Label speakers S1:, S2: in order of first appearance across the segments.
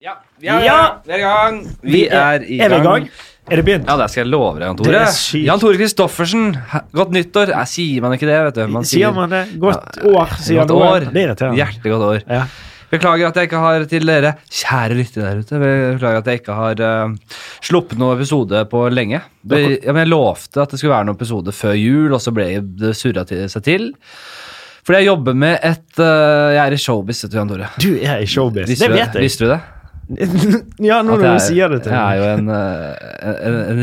S1: Ja, vi er,
S2: Ja.
S1: vi er i gang.
S2: Vi er i gang. Er vi i gang? Er det begynt?
S1: Ja, det skal jeg love deg, Jan
S2: Det
S1: Tore.
S2: er sykt.
S1: Jan Tore Kristoffersen, he- godt nyttår. Nei, sier man ikke det, vet du.
S2: sier man det? Godt år, sier
S1: godt
S2: man
S1: år.
S2: Det er irriterende.
S1: Hjertelig godt år.
S2: Ja.
S1: Beklager at jeg ikke har til dere, kjære lyttere der ute, beklager at jeg ikke har eh, sluppet noen episode på lenge. Det, ja, men jeg lovte at det skulle være noen episode før jul, og så ble det surra til, seg til. Fordi jeg jobber med et eh, Jeg er i showbiz, vet du, Jan Tore.
S2: Du er i showbiz.
S1: Visste
S2: det
S1: du
S2: vet jeg.
S1: Visste du det?
S2: ja, nå
S1: At
S2: når
S1: jeg
S2: du sier det til
S1: jeg er
S2: meg.
S1: jo en, eh, en, en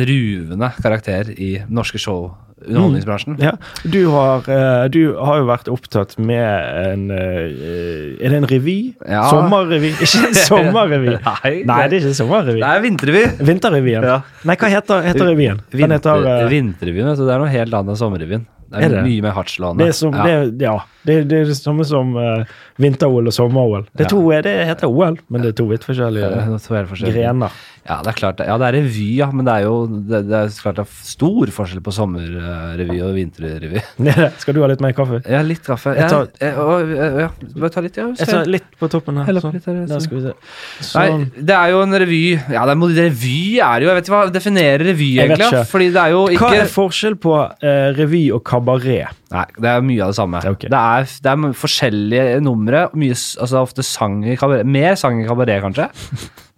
S1: ruvende karakter i norske show underholdningsbransjen.
S2: Ja. Du, har, eh, du har jo vært opptatt med en eh, Er det en revy?
S1: Ja.
S2: Sommerrevy? Ikke en sommerrevy.
S1: Nei,
S2: Nei, det er ikke en sommerrevy.
S1: Det er vinterrevy.
S2: Vinterrevyen.
S1: Ja.
S2: Nei, hva heter, heter revyen? Den heter
S1: Vinter-
S2: eh,
S1: Vinterrevyen, vet du. Det er noe helt annet enn sommerrevyen. Det
S2: Er
S1: er,
S2: det?
S1: mye mer hardtslående.
S2: det er, som,
S1: Ja.
S2: det, er- ja, det, er- det er det samme som eh, vinter-OL og sommer-OL. Det, er to- eh, det heter OL, men det er to vidt
S1: Det er
S2: forskjellige
S1: noe helt forskjellig.
S2: grener.
S1: Ja, det er klart. det- Ja, det er revy, ja. Men det er jo det, det er så klart det er stor forskjell på sommerrevy og vinterrevy.
S2: Nede. Skal du ha litt mer kaffe?
S1: Ja, litt kaffe.
S2: Jeg tar-
S1: ja, og- ja, bare ta litt, ja. så-
S2: Jeg tar litt på toppen her.
S1: Hell opp
S2: Sånn.
S1: litt her,
S2: Der
S1: sånn.
S2: skal vi se. Sånn.
S1: Nei, det er jo en revy Ja, det er, mod- revy er det jo Jeg vet ikke hva definerer revy
S2: Jeg vet
S1: egentlig. da?
S2: ikke.
S1: Fordi det er jo
S2: Hva er
S1: ikke
S2: forskjell på eh, revy og kabaret?
S1: Nei, det er mye av det samme.
S2: Ok.
S1: Det, er, det er forskjellige numre. og Mye, s- altså ofte sang i kabaret. Mer sang i kabaret, kanskje.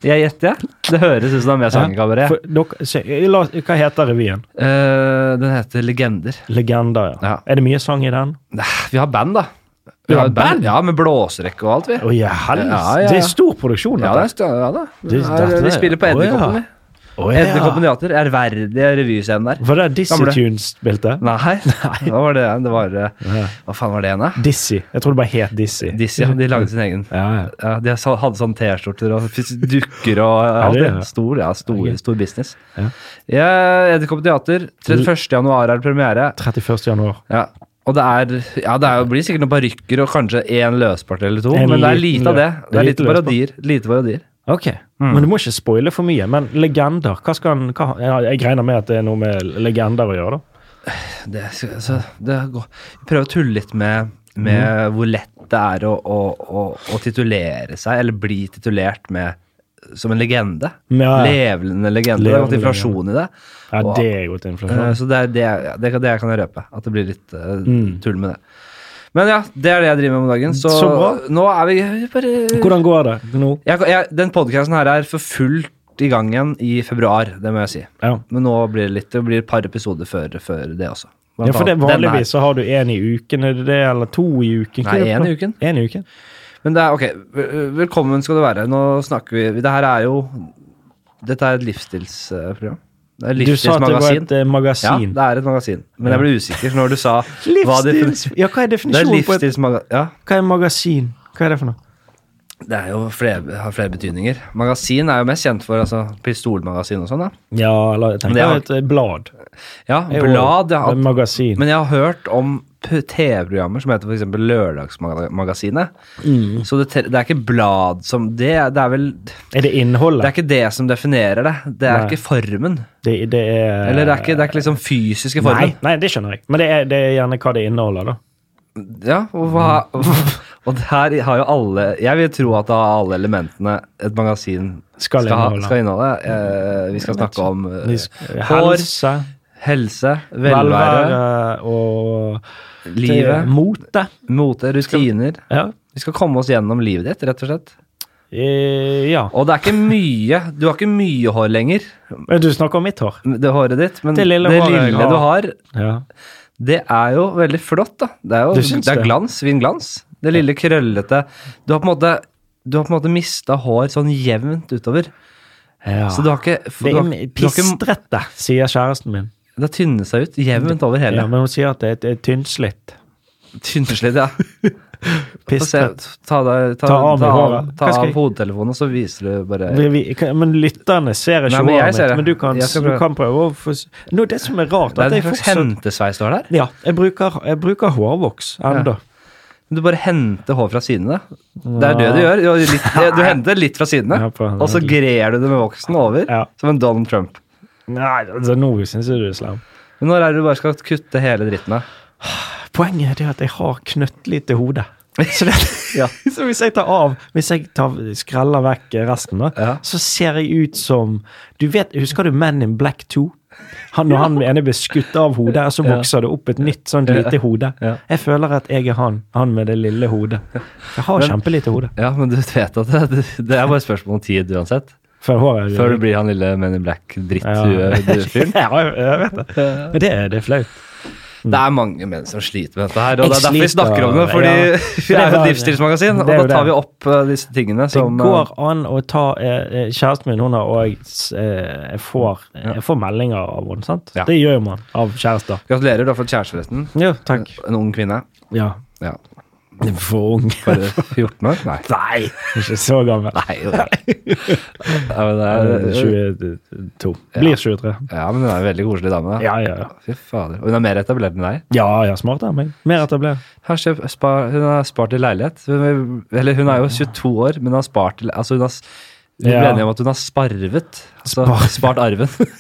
S1: Jeg gjetter. jeg. Det høres ut som det er mer sang i kabaret.
S2: For dere- se, la, hva heter revyen?
S1: Eh, den heter Legender.
S2: Legender, ja.
S1: Ja.
S2: Er det mye sang i den?
S1: Nei, vi har band, da.
S2: Du har
S1: et
S2: band?
S1: Ja, Med blåserekke og alt, vi.
S2: Å, ja, hels.
S1: Ja, ja, ja.
S2: Det er stor produksjon.
S1: Ja, det er,
S2: dette.
S1: st- ja da.
S2: Det-
S1: Ja,
S2: dette-
S1: vi spiller på
S2: Å, ja.
S1: Edderkoppen, vi.
S2: Å, ja.
S1: Edderkoppen Teater. Ærverdige revyscenen der.
S2: Var det Dizzie
S1: Gamle.
S2: Tunes spilte?
S1: Nei, hva var det? Det var eh,
S2: Ja.
S1: Hva faen var det igjen, da?
S2: Dizzie. Jeg tror det bare het Dizzie.
S1: Dizzy, ja. De
S2: Mm.
S1: lagde sin egen.
S2: Ja, ja.
S1: Ja, de så- hadde sånn T-skjorter og fis- dukker og eh,
S2: Er
S1: alt
S2: det
S1: det.
S2: det?
S1: Stor, ja, stor,
S2: Ok.
S1: stor business.
S2: Ja.
S1: Ja, Edderkoppen Teater. 31. januar er det premiere.
S2: 31. januar.
S1: Ja. Og det er Ja, det er, jo- blir sikkert noen parykker og kanskje én løspart eller to,
S2: En
S1: men det er
S2: liten
S1: lite av det.
S2: lø-
S1: Det er
S2: lite
S1: lite
S2: løspart.
S1: parodier. Lite parodier.
S2: Ok,
S1: Mm.
S2: Men du må ikke spoile for mye. Men legender, hva skal han hva, ja, Jeg regner med at det er noe med legender å gjøre, da.
S1: Det, altså, det går. Vi prøver å tulle litt med, med
S2: Mm.
S1: hvor lett det er å, å, å, å titulere seg, eller bli titulert med som en legende.
S2: Ja, ja.
S1: Levende legende. Det har
S2: Levende
S1: gått inflasjon i det.
S2: Ja,
S1: Og-
S2: det er jo et
S1: Eh,
S2: inflasjon.
S1: Så det er det, jeg- det, kan- det jeg kan jeg røpe. At det blir litt eh, tull med det. Men ja, det er det jeg driver med om dagen. Så,
S2: Mm. Så bra.
S1: nå er vi bare
S2: Hvordan går det nå?
S1: jeg, jeg, Den podkasten her er for fullt i gang igjen i februar, det må jeg si.
S2: Ja.
S1: Men nå blir det litt Det blir et par episoder før, før det også. Blant
S2: Ja, for det er
S1: annet denne her.
S2: Vanligvis så har du én i uken, er det det, eller to i
S1: Nei,
S2: uken? Hva er det?
S1: én i uken.
S2: En i uken.
S1: Men det er ok. vel- Velkommen skal du være. Nå snakker vi Det her er jo Dette er et livsstilsprogram. Det er et
S2: Du sa at det var
S1: livsstilsmagasin.
S2: et eh,
S1: Ja,
S2: magasin.
S1: det er et magasin. Men jeg ble usikker når du sa hva det
S2: Livsstils... Ja, hva er
S1: Det er
S2: definisjonen på et
S1: livsstilsmagasin Ja,
S2: Hva er magasin? Hva er det for noe?
S1: det er jo flere, har flere betydninger. Magasin er jo mest kjent for altså, pistolmagasin og sånn. da.
S2: Ja, eller jeg
S1: Men det
S2: tenker
S1: er-
S2: et eh, blad.
S1: Ja,
S2: Det er jo-
S1: blad. Ja,
S2: det er
S1: at,
S2: magasin.
S1: men jeg har hørt om p- TV-programmer som heter f.eks. Lørdagsmagasinet.
S2: Mm.
S1: Så det, te- det er ikke blad som det, det er vel Det
S2: er det
S1: er
S2: innholdet?
S1: ikke det som definerer det. Det er
S2: Nei.
S1: ikke formen.
S2: Det, det er
S1: Eller det er ikke, det er ikke liksom fysiske
S2: Nei,
S1: formen.
S2: nei, det skjønner jeg. Men det er, det er gjerne hva det inneholder, da.
S1: Ja, og, hva, og der har jo alle Jeg vil tro at av alle elementene et magasin skal,
S2: Skal
S1: ha-
S2: inneholde.
S1: skal inneholde eh, Vi skal snakke om eh,
S2: Vi sk-
S1: hår,
S2: Helse,
S1: helse, velvære,
S2: velvære og
S1: livet,
S2: Mote.
S1: mote, rutiner.
S2: Ja.
S1: Vi skal komme oss gjennom livet ditt, rett og slett.
S2: Eh, ja.
S1: Og det er ikke mye Du har ikke mye hår lenger,
S2: Men Du snakker om mitt hår.
S1: det håret ditt, men det
S2: Det lille
S1: lille,
S2: håret jeg har.
S1: du har,
S2: Ja.
S1: det er jo veldig flott, da. Det er jo
S2: Du syns
S1: det er
S2: det?
S1: glans, fin glans. Det lille krøllete Du har på en måte du har på en måte mista hår sånn jevnt utover.
S2: Ja.
S1: Så du har ikke du
S2: Det
S1: har,
S2: er
S1: du har ikke,
S2: pistrete, sier kjæresten min.
S1: Det har tynnet seg ut jevnt over hele.
S2: Ja, men hun sier at det er- det er tynnslitt.
S1: Tynnslitt, ja. Få se.
S2: Pistrete.
S1: Ta, deg- ta,
S2: Ta
S1: ta
S2: av
S1: av,
S2: meg
S1: ta av,
S2: håret. Hva skal jeg-
S1: hodetelefonen, og så viser du bare
S2: Vi- vi- kan- Men lytterne ser ikke
S1: Nei, men jeg
S2: håret
S1: ser
S2: mitt.
S1: det.
S2: Men du kan,
S1: Jeg skal
S2: du
S1: prøve.
S2: kan prøve å få s- Nå, Det som er rart,
S1: Det
S2: at
S1: er
S2: jeg
S1: en slags
S2: fortsatt
S1: hentesveis du har der.
S2: ja, jeg bruker, jeg bruker hårvoks ennå.
S1: Du bare henter hår fra sidene. Det er det du gjør. Du, har litt, du henter litt fra sidene,
S2: Ja, på-
S1: og så grer du det med voksen over,
S2: Ja.
S1: som en Donald Trump.
S2: Nei, altså, nå syns jeg du er slem.
S1: Men når er det du bare skal kutte hele dritten av?
S2: Poenget er det at jeg har knøttlite hode. Så, det,
S1: Ja.
S2: så hvis jeg tar av, hvis jeg tar, skreller vekk resten, da,
S1: Ja.
S2: så ser jeg ut som du vet, Husker du Men in Black 2? Han, når han ene blir skutt av hodet, og så vokser det opp et nytt sånt lite hode.
S1: Ja.
S2: Jeg føler at jeg er han. Han med det lille hodet. Jeg har kjempelite hode.
S1: Ja, men du vet at det, det er bare et spørsmål om tid uansett.
S2: Før håret
S1: Før du blir han lille Men in Black-dritthue-fyren.
S2: Ja, jeg vet det. Men det, er- det er flaut.
S1: Det er mange menn som sliter med dette her, og
S2: Jeg
S1: det er derfor vi
S2: sliter,
S1: snakker om det. Fordi
S2: ja.
S1: vi er jo et
S2: Det er-
S1: livsstilsmagasin, og
S2: det er
S1: da
S2: jo
S1: tar
S2: det.
S1: vi opp eh, disse tingene
S2: Det
S1: som eh,
S2: går an å ta eh, eh, Kjæresten min hun har òg eh, jeg, får, jeg får meldinger av henne, sant?
S1: Ja.
S2: Det gjør man av kjærester.
S1: Gratulerer, du har fått kjæreste, forresten.
S2: Jo, takk.
S1: En ung kvinne.
S2: Ja.
S1: Ja.
S2: For ung.
S1: Bare 14 år? Nei.
S2: Nei, ikke så gammel.
S1: Nei, jo, nei. Ja, men det
S2: Eh,
S1: er,
S2: 22. Blir 23.
S1: ja, men hun er en veldig koselig dame. da.
S2: Ja, ja, ja.
S1: Fy fader. Og hun er mer etablert enn deg.
S2: Ja, ja, smart av meg. Mer etablert.
S1: Har kjøpt, spar, hun har spart til leilighet. Hun, eller hun er jo 22 år, men hun har spart til altså hun har, Vi ble
S2: Ja.
S1: enige om at hun har sparvet. Altså
S2: Spar-
S1: spart arven.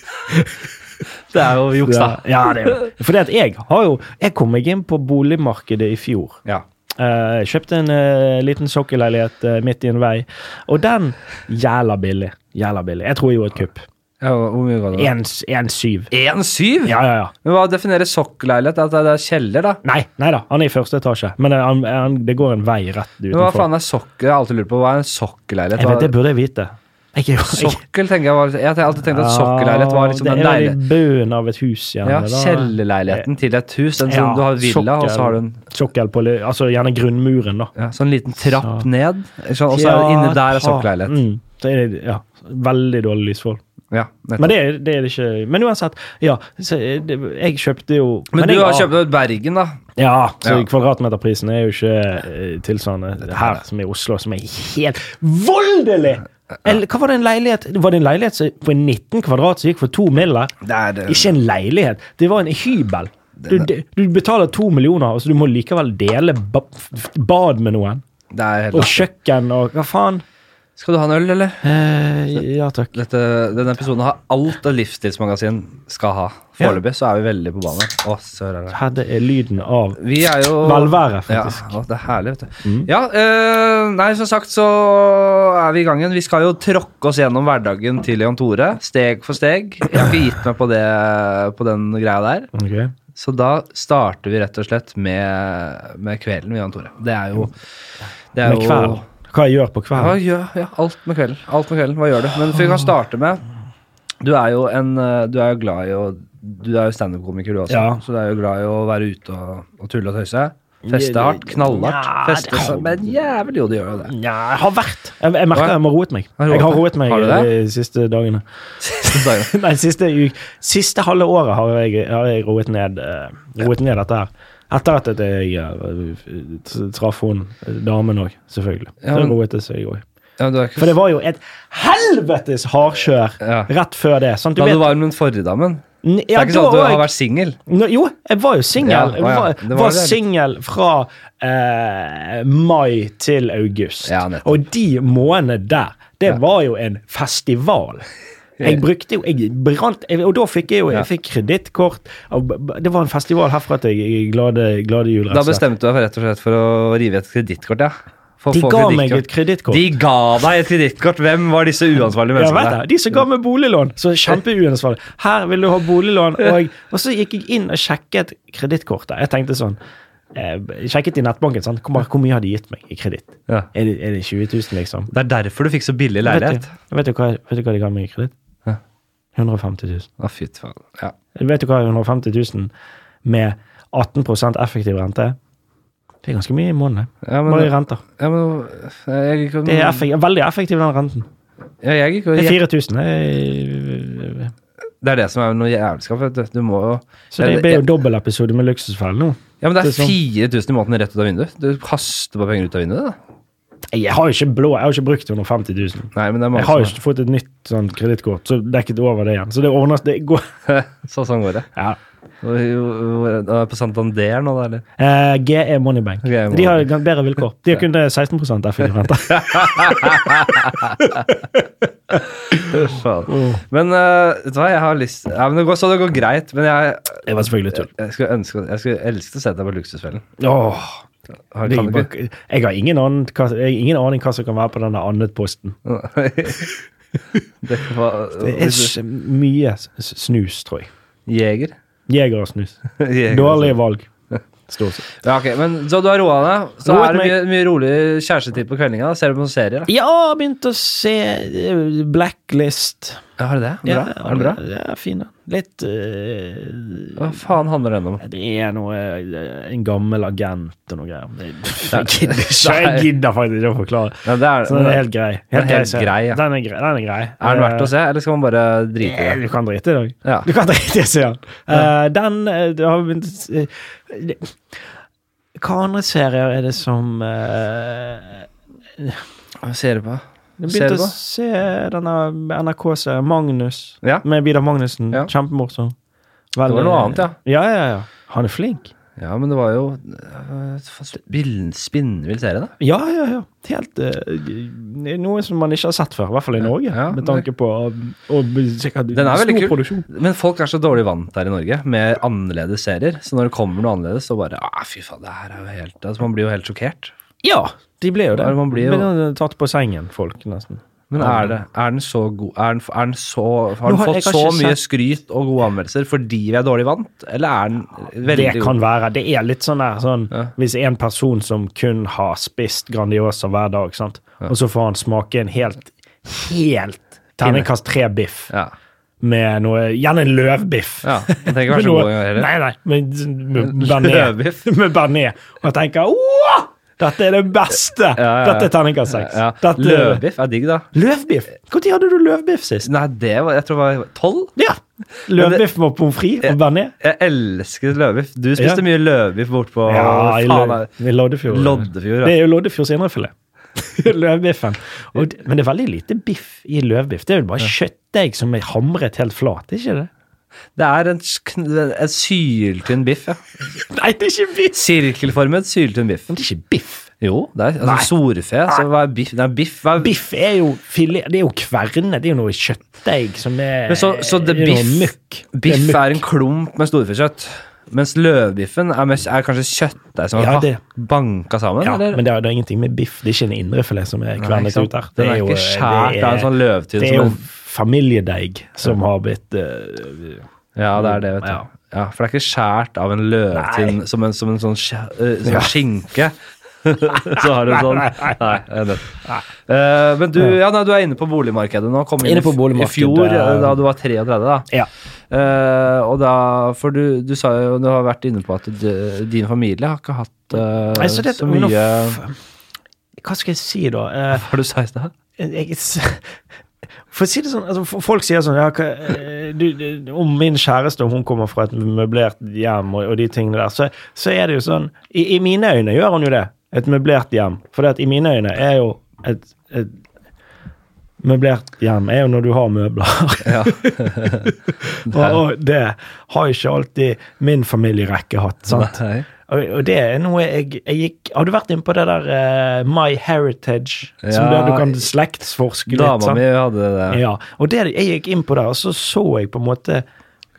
S1: det er jo juks, da.
S2: Ja, ja, det er jo. Fordi at jeg har jo Jeg kom meg inn på boligmarkedet i fjor.
S1: Ja.
S2: Eh, Jeg kjøpte en eh, liten sokkelleilighet eh, midt i en vei, og den jævla billig. Jævla billig. Jeg tror jeg gjorde et kupp.
S1: ja. Hvor hvor mye var det?
S2: 1,7.
S1: 1,7?
S2: Ja, ja, ja.
S1: Men hva definerer sokkleilighet? At det er kjeller, da?
S2: Nei, nei da, han er i første etasje, men eh, han, han, det går en vei rett
S1: Men hva
S2: utenfor.
S1: faen er sokk? Jeg har alltid lurt på hva er en sokkleilighet
S2: Jeg vet, det
S1: Hva-
S2: burde jeg vite. Jeg, er jo- jeg,
S1: Sokkel, tenker jeg var Jeg har alltid tenkt at sokkelleilighet var liksom
S2: Ja,
S1: den
S2: Det er
S1: leiligheten
S2: vel i bunnen av et hus, gjerne.
S1: Ja,
S2: da.
S1: kjellerleiligheten til et hus. Den som
S2: Ja,
S1: du har villa, og
S2: sokkel.
S1: så har du en
S2: Sokkel på, li- altså gjerne grunnmuren, da.
S1: ja, sånn liten trapp
S2: Så-
S1: ned. Sånn, og så er det inni der er
S2: ta-
S1: sokkleilighet.
S2: Mm, det er, ja, veldig dårlig lysforhold.
S1: Ja, nettopp.
S2: Men det er det er det ikke. Men uansett, ja. Så eh, det, jeg kjøpte jo
S1: Men, du
S2: jeg-
S1: har kjøpt ut Bergen, da.
S2: Ja, så
S1: Ja.
S2: kvadratmeterprisen er jo ikke eh, tilsvarende her som i Oslo, som er helt voldelig! Eller, hva var det en leilighet Var det en leilighet som- på 19 kvadrat som gikk for to miller?
S1: Det er det.
S2: Ikke en leilighet, det var en hybel. Du, du betaler to millioner, og så du må likevel dele ba bad med noen.
S1: det er helt
S2: Og
S1: latterlig.
S2: kjøkken og hva faen.
S1: Skal du ha en øl, eller?
S2: Eh, ja takk.
S1: Dette, denne episoden har alt et livsstilsmagasin skal ha. Foreløpig så er vi veldig på banen. Å, søren.
S2: Her det er lyden av
S1: Vi er jo
S2: velvære, faktisk. Mm.
S1: Ja, å, det er herlig, vet du. Ja, eh, nei, som sagt så er vi i gang igjen. Vi skal jo tråkke oss gjennom hverdagen til Jan Tore, steg for steg. Jeg har ikke gitt meg på, det, på den greia der.
S2: Ok.
S1: Så da starter vi rett og slett med, med kvelden med Jan Tore. Det er jo det er
S2: Med
S1: jo-
S2: kveld. Hva jeg gjør på
S1: Ja,
S2: kveld?
S1: ja, ja, alt med kvelden. Alt med kvelden, Hva gjør du? Men vi kan starte med Du er jo en eh, Du er jo glad i å Du er jo standup-komiker, du også,
S2: Ja.
S1: så du er jo glad i å være ute og, og tulle og tøyse. Feste hardt, knallhardt.
S2: Ja, det
S1: Feste seg Men jævlig jo, du gjør jo det.
S2: Nja, jeg har vært. Jeg, jeg merker jeg må roet meg.
S1: Har du roet
S2: Jeg har
S1: deg?
S2: roet meg
S1: Har du det?
S2: de siste dagene.
S1: Siste dagene.
S2: Nei, siste, uk- siste halve året har jeg, har jeg roet, ned, eh, roet ned dette her. Etter at jeg eh, t- traff hun eh, damen òg, selvfølgelig.
S1: Ja,
S2: Så
S1: men-
S2: roet det seg òg.
S1: Ja, du er ikke
S2: For det var jo et helvetes hardkjør
S1: Ja.
S2: rett før det. Sant? Du
S1: Da du
S2: vet,
S1: var med den forrige damen.
S2: N-
S1: Det
S2: ja,
S1: er ikke
S2: da
S1: sånn at du
S2: var jeg-
S1: har vært singel.
S2: Nå, jo, jeg var jo singel.
S1: Ja, å
S2: jeg
S1: ja,
S2: var,
S1: det var
S2: var,
S1: det.
S2: singel fra eh, mai til august.
S1: Ja, nettopp.
S2: og de månedene der, det var jo en festival. Jeg brukte jo jeg brant, jeg- Og da fikk jeg jo jeg fikk kredittkort. og b- b- Det var en festival herfra til jeg- glade, glade jul. altså. rett
S1: Da
S2: og slett.
S1: bestemte du deg for, rett og slett for å rive et kredittkort, ja. For å
S2: De
S1: få
S2: ga meg
S1: kredittkort.
S2: et kredittkort.
S1: De ga deg et kredittkort! Hvem var disse uansvarlige
S2: Ja, vet
S1: menneskene?
S2: jeg. De som ga meg boliglån. Så kjempeuansvarlig. Her vil du ha boliglån, og, og så gikk jeg inn og sjekket kredittkortet. Jeg tenkte sånn eh, Sjekket i nettbanken. Sant? Hvor, hvor mye har de gitt meg i kreditt?
S1: Ja.
S2: Er, det- er det 20 000, liksom?
S1: Det er derfor du fikk så billig
S2: Vet
S1: leilighet.
S2: du, vet, du hva, vet du hva de ga meg i kreditt?
S1: Ja.
S2: 150 000.
S1: Å, fy faen. Ja.
S2: Vet du hva 150 000 med 18 effektiv rente er? Det er ganske mye i måneden.
S1: Ja, men-
S2: Bare i renter.
S1: ja, men jeg, kan,
S2: Det er effek veldig effektiv, den renten.
S1: ja, jeg, kan-
S2: Det er
S1: jeg,
S2: 4000. Det er-
S1: det er det som er noe jævelskap. Vet du. du må jo
S2: Så det blir jo dobbeltepisode med Luksusfellen nå.
S1: Ja, men det er
S2: det er
S1: 4000
S2: sånn.
S1: i måneden rett ut av vinduet. Du kaster bare penger ut av vinduet, da.
S2: Jeg har jo ikke blå, jeg har jo ikke brukt 150 000.
S1: Nei, men det er mange
S2: Jeg har jo
S1: som
S2: ikke fått et nytt sånn kredittkort, så dekket over det igjen. Så det ordner det går.
S1: Så sånn går det.
S2: Ja.
S1: Og- og- og- og På Santander nå, da, eller?
S2: Eh, GE Moneybank.
S1: GE
S2: De har jo gan- bedre vilkår. De har kun det 16 effektiv rente.
S1: Faen.
S2: Mm.
S1: Men eh, vet du hva, jeg har lyst ja, men det går, Så det går greit, men jeg,
S2: Det var selvfølgelig tull.
S1: jeg skulle ønske Jeg skulle elske å sette deg på Luksusfellen.
S2: Åh,
S1: Har-
S2: Det,
S1: kan du ikke?
S2: jeg har ingen, annen, hva- jeg har ingen aning hva som kan være på denne annet-posten.
S1: det var
S2: Det er s- mye s- snus, tror jeg.
S1: Jeger.
S2: Jeger og snus.
S1: Jeger.
S2: Dårlige valg. Stort sett.
S1: Ja, ok, men Så du har roa deg? Så
S2: Roet
S1: er det mye,
S2: meg.
S1: mye rolig kjærestetid på kveldinga? da? Ser du på noen serier? da?
S2: Ja, jeg begynte å se eh, Blacklist.
S1: Ja, har du det? Bra?
S2: Ja,
S1: er det bra?
S2: Ja, fin den. Litt eh,
S1: Hva faen handler den om?
S2: Det er noe eh, En gammel agent og noe greier. Det- Jeg gidder ikke
S1: Nei.
S2: jeg gidder faktisk ikke å forklare.
S1: Ja, det er,
S2: Så den er helt grei.
S1: Den er helt
S2: serie.
S1: grei, ja.
S2: den er grei. Den er grei.
S1: er den verdt å se, eller skal man bare drite i
S2: Eh,
S1: det?
S2: Du kan drite i det.
S1: Ja.
S2: Du kan drite i å se den. Eh, Den eh, det har begynt eh, det- Hva andre serier er det som eh,
S1: Hva ser du på?
S2: Jeg
S1: Ser du
S2: begynte å
S1: på?
S2: se denne NRK-serien Magnus.
S1: Ja.
S2: Med Vidar Magnussen.
S1: Ja.
S2: Kjempemorsom.
S1: Det var noe annet, ja.
S2: Ja, ja, ja. Han er flink.
S1: Ja, men det var jo øh, spill- Spinnvill serie, da.
S2: Ja, ja, ja. Helt eh, Noe som man ikke har sett før. I hvert fall i Norge.
S1: Ja,
S2: med tanke på eh, og sikkert
S1: Den er veldig
S2: stor
S1: kul.
S2: produksjon.
S1: Men folk er så dårlig vant her i Norge med annerledes serier. Så når det kommer noe annerledes, så bare ah, Fy faen, det her er jo helt altså, Man blir jo helt sjokkert.
S2: Ja, de ble jo det.
S1: Ja, man blir jo-
S2: Ble tatt på sengen, folk, nesten.
S1: Men er, det, er den så god Er den, er den så Har
S2: Nå
S1: den
S2: har-
S1: fått
S2: jeg har
S1: så
S2: ikke
S1: mye
S2: sett-
S1: skryt og gode anmeldelser fordi vi er dårlig vant, eller er den veldig
S2: det kan være. Det er litt sånn der sånn,
S1: Ja.
S2: Hvis en person som kun har spist Grandiosa hver dag, sant? og så får han smake en helt, helt terningkast tre-biff
S1: Ja.
S2: med noe Gjerne løvbiff.
S1: ja. Den trenger ikke være så god engang heller.
S2: Nei, nei, med, med bearnés.
S1: Løvbiff.
S2: med bearnés. Og jeg tenker åh, dette er det beste!
S1: ja, ja.
S2: Dette er terningkast seks.
S1: Ja.
S2: Dette-
S1: Løvbiff er digg, da.
S2: Løvbiff? Når hadde du løvbiff sist?
S1: Nei, det var Jeg tror det var tolv?
S2: Ja. Løvbiff med pommes frites og bearnés.
S1: Jeg elsket løvbiff. Du spiste
S2: Ja.
S1: mye løvbiff bort på
S2: Ja, i
S1: faen,
S2: Lø-
S1: da.
S2: i Loddefjord.
S1: Loddefjord.
S2: Det
S1: Ja.
S2: er jo Loddefjords indrefilet. Løvbiffen. Og, d- men det er veldig lite biff i løvbiff. Det er jo bare kjøttdeig som er hamret helt flat, er ikke det?
S1: Det er en, skn- en syltynn biff, ja.
S2: Nei, det er ikke biff!
S1: Sirkelformet syltynn biff.
S2: Men det er ikke biff.
S1: Jo, det er altså, storfe. Så hva er biff? Nei, biff hva er
S2: Biff er jo filet, det er jo kverne, det er jo noe kjøttdeig som er
S1: Men så, så det
S2: er noe
S1: biff,
S2: møkk. Det
S1: biff
S2: møkk.
S1: er en klump med storfekjøtt. Mens løvbiffen er, mest, er kanskje kjøttdeig som er
S2: Ja,
S1: ja,
S2: det-
S1: banka sammen?
S2: ja,
S1: eller?
S2: men det er, det er ingenting med biff. Det er ikke en indrefilet som er
S1: Nei, ikke
S2: kvernet
S1: sant?
S2: ut der.
S1: Den er
S2: jo- eh,
S1: ikke skjært av
S2: det
S1: en
S2: er-
S1: sånn løvtynn
S2: Det er
S1: som
S2: jo
S1: en-
S2: familiedeig som har blitt eh,
S1: Ja, det er det, vet du.
S2: Ja.
S1: Ja. For det er ikke skjært av en løvtynn som en, som en sånn, skje- eh, sånn skinke. så har du en sånn Nei. jeg vet. Eh, men du, ja, nei, du er inne på boligmarkedet nå. Kom inn,
S2: Inne på
S1: i f-
S2: boligmarkedet.
S1: i fjor, eh, da du var 33. da.
S2: Ja.
S1: Eh, og da, For du, du sa jo, du har vært inne på at du, din familie har ikke hatt eh,
S2: Nei, så, det,
S1: så
S2: men nå
S1: mye
S2: f- Hva skal jeg si, da? Eh,
S1: Har du 16 her?
S2: jeg, for å si det sånn, altså, f- Folk sier sånn ja, hva, eh, du, du, Om min kjæreste om hun kommer fra et møblert hjem og, og de tingene der, så, så er det jo sånn i, I mine øyne gjør hun jo det. Et møblert hjem. For det at i mine øyne er jo et, et møblert hjem er jo når du har møbler. og, og det har jo ikke alltid min familierekke hatt. sant?
S1: Nei.
S2: Og, og det er noe jeg, jeg gikk Har du vært inne på det der eh, My Heritage? Som
S1: Ja,
S2: der du kan slektsforske litt?
S1: Dama
S2: sant?
S1: mi hadde det.
S2: Ja, og det, jeg gikk inn på det, og så så jeg på en måte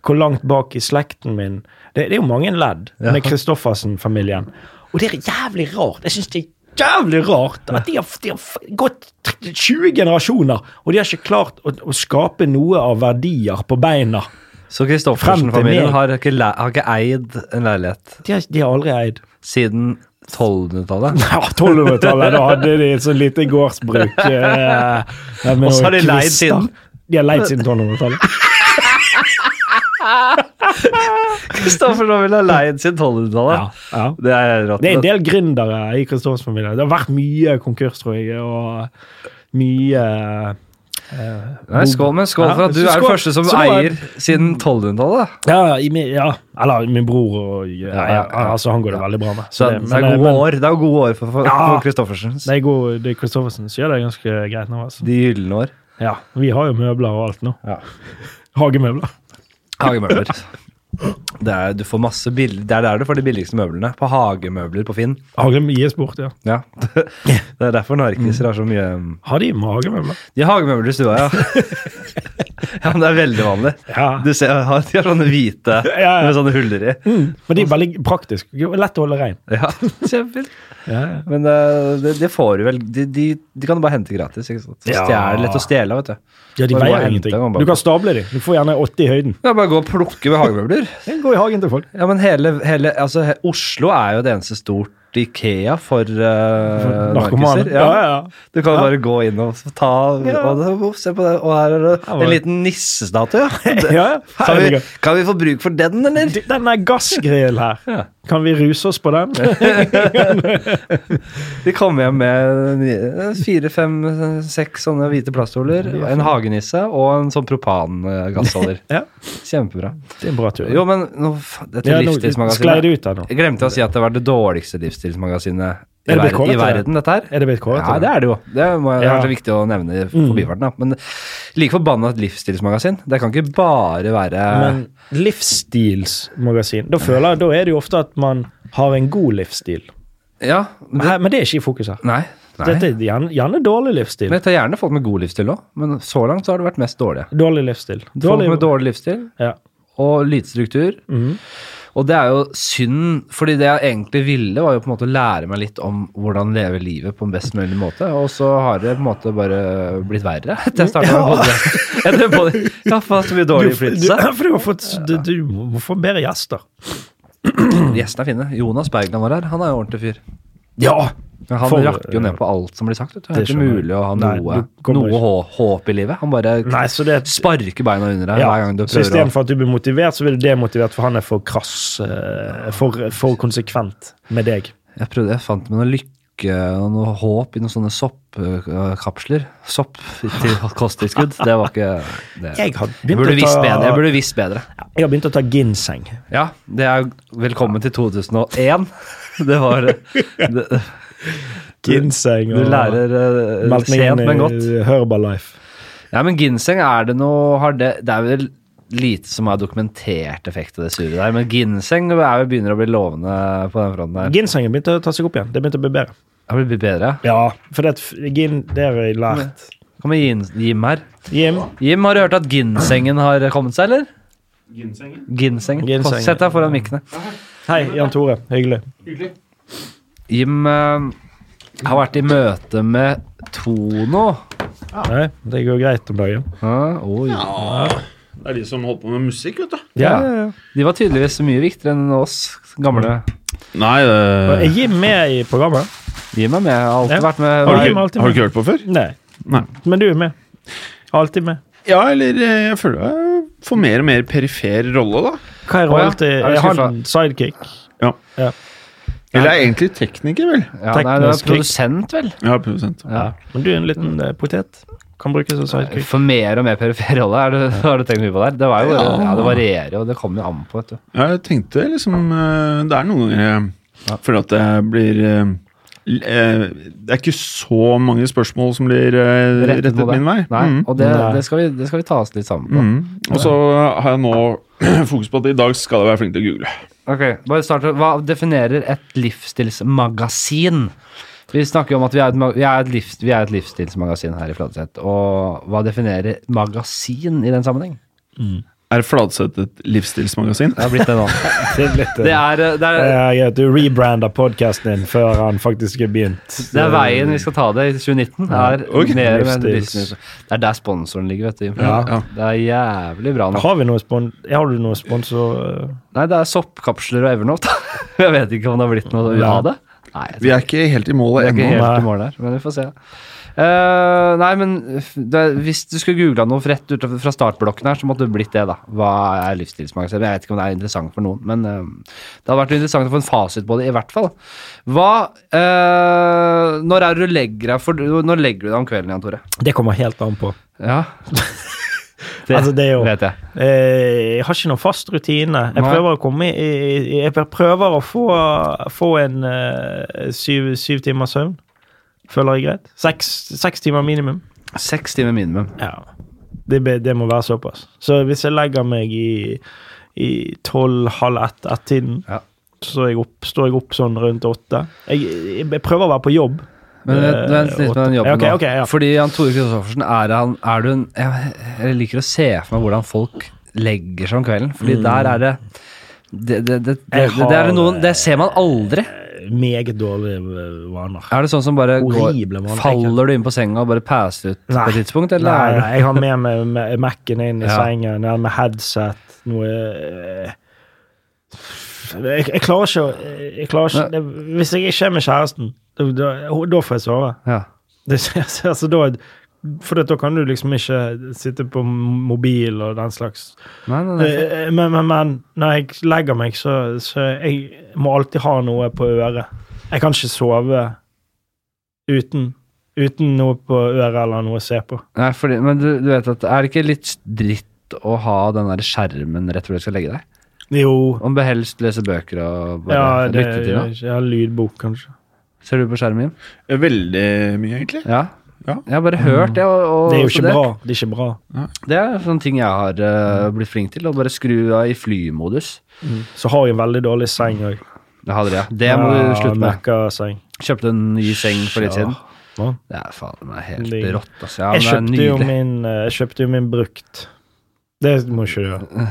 S2: hvor langt bak i slekten min Det, det er jo mange ledd med Christoffersen-familien. Og det er jævlig rart. Jeg syns det er jævlig rart at de har, de har f- gått 20 generasjoner, og de har ikke klart å, å skape noe av verdier på beina.
S1: Så
S2: Frem til
S1: Christoffersen-familien
S2: meg.
S1: har, ikke le- har ikke eid en leilighet
S2: De har, de har aldri eid.
S1: siden 1200-tallet.
S2: Ja, 1200-tallet, da hadde de et så lite gårdsbruk. eh, med
S1: Og så
S2: noen
S1: har de leid
S2: kvister.
S1: siden.
S2: De har leid siden 1200-tallet.
S1: Christoffersen-familien har leid siden 1200-tallet.
S2: Ja, ja.
S1: Det er helt rått.
S2: Det er en del gründere i Kristiansand-familien. Det har vært mye konkurs, tror jeg, og mye
S1: Nei, skål, men skål for
S2: Ja,
S1: at du er den
S2: skål.
S1: første som
S2: Skål.
S1: eier siden 1200-tallet.
S2: ja, i min, ja, eller min bror og ja,
S1: ja, ja.
S2: Altså, han går det veldig bra med.
S1: Så det,
S2: det,
S1: det er
S2: men-
S1: gode
S2: men-
S1: år, det er gode år for, for,
S2: Ja.
S1: for Christoffersen.
S2: Det er god, det er Christoffersen som gjør det ganske greit nå. Altså.
S1: De gylne år.
S2: Ja, vi har jo møbler og alt nå.
S1: Ja.
S2: Hagemøbler.
S1: Hagemøbler. Det er, du får masse bill- det er der du får de billigste møblene. På hagemøbler på Finn.
S2: Hagem gis bort, ja.
S1: Ja.
S2: Mm.
S1: Det er derfor narkiser har så mye um,
S2: Har de hagemøbler?
S1: De har hagemøbler i stua, ja. Ja, men det er veldig vanlig.
S2: Ja.
S1: Du ser, har- de har sånne hvite
S2: ja.
S1: med sånne huller i.
S2: Mm. Men de er veldig praktiske. Jo, Lett å holde rein.
S1: Ja, kjempefint.
S2: Ja, ja.
S1: Men eh, det, det får du vel de, de, de kan du bare hente gratis. ikke sant? Så
S2: Ja.
S1: Stjele, lett å stjele, vet du.
S2: Ja, de
S1: Bare gå og
S2: veier
S1: hente
S2: ingenting.
S1: dem og bare-
S2: Du kan stable dem. Du får gjerne 80 i høyden.
S1: Ja, bare gå og plukke behagemøbler.
S2: Gå i hagen til folk.
S1: Ja, men hele, hele altså, he, Oslo er jo det eneste stort Ikea for, eh,
S2: Narkomane.
S1: narkiser.
S2: Ja, ja, ja.
S1: Du kan jo bare gå inn og så ta
S2: Ja.
S1: og, da- Se på det, og her er det
S2: var-
S1: en liten nissestatue, ja.
S2: Ja,
S1: Kan vi,
S2: herregud.
S1: kan vi få bruk for den, eller?
S2: Du, Den der gassgrillen her,
S1: Ja.
S2: kan vi ruse oss på den?
S1: Vi kom hjem med ni- fire, fem, seks sånne hvite plaststoler, en hagenisse og en sånn propangassholder.
S2: Ja.
S1: Kjempebra.
S2: Det er en bra tur.
S1: Jo, men nå, fa- dette
S2: Ja, nå sklei det
S1: livsstilsmagasinet
S2: ut der nå.
S1: Jeg glemte å si at det var det dårligste livsstilsmagasinet i,
S2: Er det blitt
S1: verden, i
S2: kåret til det?
S1: verden, dette her.
S2: Er det blitt kåret?
S1: Ja, det er det jo. Det må være
S2: Ja. Mm.
S1: kanskje viktig å nevne i forbifarten. da. Men like forbanna et livsstilsmagasin. Det kan ikke bare være
S2: Men livsstilsmagasin Da føler jeg, da er det jo ofte at man har en god livsstil.
S1: Ja.
S2: Men
S1: Det,
S2: her- Men det er ikke i fokus her.
S1: nei. nei.
S2: Dette er gjerne, gjerne dårlig livsstil.
S1: Men jeg tar gjerne folk med god livsstil òg, men så langt så har det vært mest dårlige.
S2: Dårlig livsstil.
S1: Folk med dårlig livsstil
S2: ja.
S1: og lite struktur.
S2: Mhm.
S1: Og det er jo synd, fordi det jeg egentlig ville, var jo på en måte å lære meg litt om hvordan leve livet på en best mulig måte, og så har det på en måte bare blitt verre etter jeg starta med podkast. Etter pod- Ja, faen så mye
S2: Du,
S1: dårlig
S2: du,
S1: innflytelse.
S2: for du, har fått, du, du må få bedre gjester.
S1: Gjestene er fine. Jonas Bergland var her. Han er jo ordentlig fyr.
S2: Ja!
S1: Men han
S2: For-
S1: rakk jo ned på alt som blir sagt. Vet du. Det er
S2: Det
S1: ikke
S2: skjønner jeg.
S1: mulig å ha
S2: Nei,
S1: noe,
S2: du kommer
S1: noe hå håp i livet. Han bare
S2: Nei, så det
S1: sparker beina under deg
S2: ja.
S1: hver gang du
S2: Så
S1: prøver å
S2: istedenfor at du blir motivert, så blir du demotivert, for han er for krass. eh, For, for konsekvent med deg.
S1: Jeg prøvde, jeg fant meg noe lykke og noe håp i noen sånne soppkapsler. Sopp til kosttilskudd. Det var ikke det.
S2: Jeg har
S1: Jeg
S2: begynt
S1: burde
S2: å
S1: visst
S2: ta-
S1: bedre. Jeg burde visst bedre.
S2: Jeg har begynt å ta ginseng.
S1: Ja, det er velkommen til 2001. Det var det,
S2: Ginseng
S1: Du lærer eh,
S2: Meldt meg
S1: sent,
S2: inn
S1: men godt.
S2: i Herbalife.
S1: Ja, men ginseng er det noe har det, det er vel lite som har dokumentert effekt av det surret der, men ginseng er jo begynner å bli lovende på den fronten der.
S2: Ginsengen begynte å ta seg opp igjen. Det begynte å bli bedre.
S1: Har det blitt bedre?
S2: Ja, for det, at gin, det har jeg lært.
S1: Kom med Jim- Jim her.
S2: Jim,
S1: Jim, har du hørt at ginsengen har kommet seg, eller?
S3: Ginsengen?
S1: Ginsengen.
S2: Ginsengen.
S1: Sett deg foran mikkene.
S2: hei, Jan Tore. Hyggelig.
S3: Hyggelig.
S1: Jim eh, har vært i møte med Tono.
S2: Nei, det går greit om dagen.
S1: Ah, oi.
S3: Det er de som holder på med musikk, vet du.
S1: Ja, ja, De var tydeligvis mye viktigere enn oss gamle.
S3: Nei,
S2: Er
S3: det
S2: Jim med i programmet?
S1: Jim er med. Har alltid
S2: Ja.
S1: vært med.
S3: har, du
S2: Nei,
S3: ikke,
S2: men alltid
S3: har du ikke hørt på før?
S2: Nei.
S3: Nei.
S2: Men du er med. Alltid med.
S3: Ja, eller eh, jeg føler jeg får mer og mer perifer rolle, da.
S2: Hva
S1: Å, ja.
S2: er rollen til
S1: Er du
S2: Er han
S1: skuffet?
S2: sidekick?
S3: Eller jeg er egentlig tekniker, vel.
S1: Ja, nei, du er
S2: teknisk krig.
S1: produsent, vel?
S3: Ja, produsent.
S1: Ja.
S2: Men du er en liten eh, potet. Kan brukes som sidekick.
S1: For mer og mer perifer rolle, er det- har du tenkt mye på der? Det, var jo, ja. det varierer jo, det kommer jo an på, vet du.
S3: Jeg tenkte liksom eh, Det er noen ganger jeg føler at jeg blir eh, l- eh, Det er ikke så mange spørsmål som blir eh, rettet,
S1: på det.
S3: min vei.
S1: Nei,
S3: Mhm.
S1: Og det,
S2: Nei.
S1: det, skal vi, det skal vi ta oss litt sammen på.
S3: Mhm. Og så har jeg nå fokus på at i dag skal jeg være flink til å google.
S1: Ok, bare start. Hva definerer et livsstilsmagasin? Vi snakker jo om at vi er et, ma- vi er et, livs, vi er et livsstilsmagasin her i Fladseth. Og hva definerer magasin i den sammenheng?
S3: Er Fladseth et livsstilsmagasin?
S1: Det har blitt det nå.
S2: Det er litt, eh,
S1: Det er, det er,
S2: Ja, ja, du rebrander podkasten din før han faktisk er begynt.
S1: det er veien vi skal ta det i 2019. Er
S3: Ok.
S1: ned med
S2: Livsstils-
S1: livsstils- Det er der sponsoren ligger, vet du.
S3: Ja, ja.
S1: Det er jævlig bra nå.
S2: Har, vi noe spon har du noe sponsor...? eh?
S1: Nei, det er soppkapsler og Evernote. jeg vet ikke om det har blitt noe av det. Nei, jeg
S3: Vi er ikke helt i målet
S1: tror ikke
S3: ennå.
S1: helt
S2: Nei.
S1: i mål der, men vi får se. Eh, nei, men det, hvis du skulle googla noe rett ut fra startblokken her, så måtte det blitt det, da. Hva er livsstilsmagasin? Jeg vet ikke om det er interessant for noen, men eh, det hadde vært interessant å få en fasit på det, i hvert fall. Hva eh, Når er det du legger deg for Når legger du deg om kvelden igjen, Tore?
S2: Det kommer helt an på.
S1: Ja. Det,
S2: Altså, det er jo-
S1: vet jeg.
S2: Eh, jeg har ikke noen fast rutine. Jeg
S1: Nei.
S2: prøver å komme i, i- i Jeg prøver å få, få en eh, syv, syv timers søvn. Føler jeg greit. Seks, seks timer minimum.
S1: Seks timer minimum.
S2: Ja. Det, be- det må være såpass. Så hvis jeg legger meg i, i tolv, halv ett, ett-tiden,
S1: Ja.
S2: så er jeg opp, står jeg opp sånn rundt åtte. Jeg, jeg, jeg prøver å være på jobb.
S1: Men vent- vent litt med den jobben
S2: Ok,
S1: nå.
S2: ok, ja.
S1: Fordi han Tore Kristoffersen, er han er du en jeg, jeg liker å se for meg hvordan folk legger seg om kvelden, fordi der er det det, det, det, det,
S2: Mm. Jeg
S1: det, er
S2: har,
S1: det noen Det ser man aldri.
S2: Eh, Meget dårlige eh, vaner.
S1: Er det sånn som bare går,
S2: Horrible vaner.
S1: Faller du inn på senga og bare passer ut på
S2: Nei.
S1: et tidspunkt,
S2: Nei,
S1: eller er
S2: nei, jeg har med meg me- Mac-en inn i
S1: Ja.
S2: sengen, den med headset, noe eh, jeg, jeg klarer ikke å jeg klarer ikke, det, Hvis jeg ikke er med kjæresten, da, da, da får jeg sove.
S1: det ja.
S2: Det, altså, da, for da kan du liksom ikke sitte på mobil og den slags.
S1: Nei, nei, nei.
S2: Eh, Men, men, men når jeg legger meg, så, så jeg må alltid ha noe på øret. Jeg kan ikke sove uten, uten noe på øret eller noe å se på.
S1: nei fordi, Men du, du vet at Er det ikke litt dritt å ha den der skjermen rett før du skal legge deg?
S2: Jo,
S1: Om du helst leser bøker og bare
S2: ja, det,
S1: lytter til
S2: jeg,
S1: noe?
S2: har lydbok, kanskje.
S1: Ser du på skjermen, Jim?
S3: Eh, Veldig mye, egentlig.
S1: Ja.
S3: Ja.
S1: Jeg har bare hørt det. Og, og,
S2: Mm. Det er jo
S1: så
S2: ikke bra. Det er ikke bra.
S1: Det er sånne ting jeg har eh, blitt flink til. Å bare skru av i flymodus.
S2: Så har jeg en veldig dårlig seng òg.
S1: Det hadde jeg. Det må du slutte med.
S2: Møkkaseng.
S1: Kjøpte en ny seng for litt
S2: Ja.
S1: siden.
S2: Hva?
S1: Det er faen meg helt
S2: Ligg.
S1: rått. Altså. Ja, men
S2: jeg, kjøpte
S1: det er
S2: jo
S1: nydelig.
S2: min, eh, jeg kjøpte jo min brukt. Det må ikke du gjøre.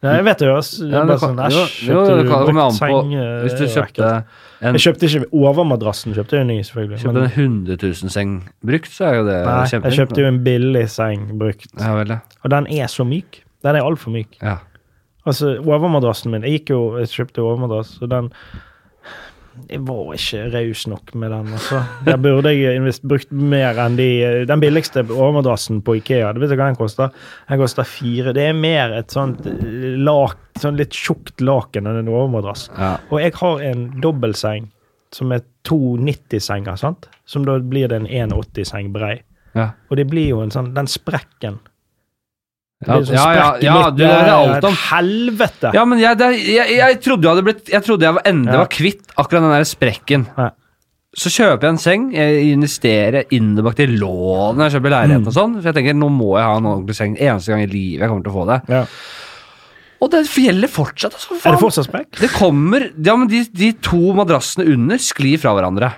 S2: Nei, jeg vet det høres det
S1: Ja,
S2: er
S1: det
S2: bare
S1: kan-
S2: sånn,
S1: jo,
S2: æsj,
S1: jo,
S2: kjøpte
S1: det
S2: du
S1: kan- kommer
S2: brukt
S1: an på
S2: seng? eh,
S1: Hvis du
S2: det er ekkelt.
S1: kjøpte en,
S2: Jeg kjøpte ikke overmadrassen, kjøpte jeg en ny, selvfølgelig.
S1: kjøpte en 100 000 seng brukt, så er jo det
S2: nei, jeg
S1: kjempefint.
S2: kjøpte jo en billig seng brukt,
S1: Ja vel, ja.
S2: og den er så myk. Den er altfor myk.
S1: ja.
S2: Altså, overmadrassen min Jeg gikk jo, jeg kjøpte overmadrass, og den Jeg var ikke raus nok med den, altså. Der burde jeg invest, brukt mer enn de Den billigste overmadrassen på Ikea, du vet hva den koster? Den koster fire. Det er mer et sånt lak, sånn litt tjukt laken enn en overmadrass.
S1: ja.
S2: Og jeg har en dobbeltseng som er to 90-senger, sant? Som da blir det en 1,80-seng brei.
S1: Ja.
S2: Og det blir jo en sånn Den sprekken. Det
S1: Ja,
S2: blir sånn
S1: ja, ja,
S2: sprekk i
S1: ja, du,
S2: midten.
S1: det vet jeg alt om.
S2: Et Helvete!
S1: Ja, men jeg, det, jeg, jeg trodde jeg hadde blitt Jeg trodde jeg var endelig
S2: Ja.
S1: var kvitt akkurat den der sprekken.
S2: Ja.
S1: Så kjøper jeg en seng, jeg investerer innbakt i lån når jeg kjøper leiligheten
S2: Mm.
S1: og sånn. For jeg tenker nå må jeg ha en ordentlig seng eneste gang i livet jeg kommer til å få det.
S2: Ja.
S1: Og det gjelder fortsatt, altså.
S2: Er
S1: Faen.
S2: det fortsatt sprekk?
S1: Det kommer Ja, men de, de to madrassene under sklir fra hverandre.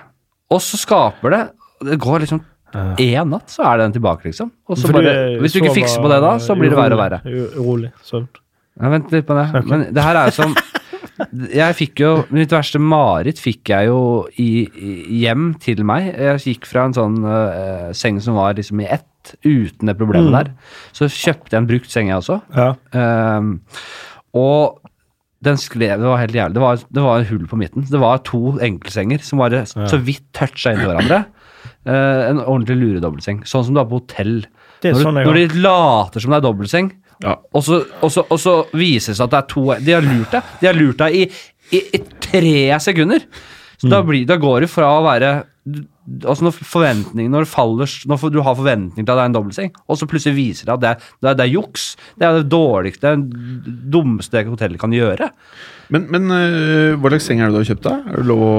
S1: Og så skaper det Det går liksom
S2: Ja.
S1: én natt, så er den tilbake, liksom. Og så
S2: Eh, For
S1: bare,
S2: du, eh,
S1: hvis du ikke
S2: sover
S1: fikser på det da, så blir det verre og verre.
S2: urolig- Urolig. søvn.
S1: Ja, vent litt på det. Men det her er jo som Jeg fikk jo Mitt verste mareritt fikk jeg jo i, i, hjem til meg. Jeg gikk fra en sånn øh, seng som var liksom i ett, uten det problemet
S2: Mm.
S1: der. Så kjøpte jeg en brukt seng, jeg også.
S2: Ja.
S1: Ehm, og den skrev Det var helt jævlig. Det var, det var en hull på midten. Det var to enkeltsenger som bare så vidt toucha inn i hverandre. Eh, en ordentlig luredobbeltseng. Sånn som du har på hotell.
S2: Det er
S1: når, du,
S2: sånn jeg
S1: når de later som det er dobbeltseng,
S3: Ja.
S1: og så, og, så, og så viser det seg at det er to De har lurt deg. De har lurt deg i, i, i tre sekunder. Så
S2: Mm.
S1: da, blir, da går det fra å være du- Altså når forventningen Når, det faller, når for- du har forventning til at det er en dobbeltseng, og så plutselig viser det at det er, det er, det er juks. Det er det dårligste, det dummeste hotellet kan gjøre.
S3: Men, men øh, hva slags seng er det du har kjøpt? da? Er det lov å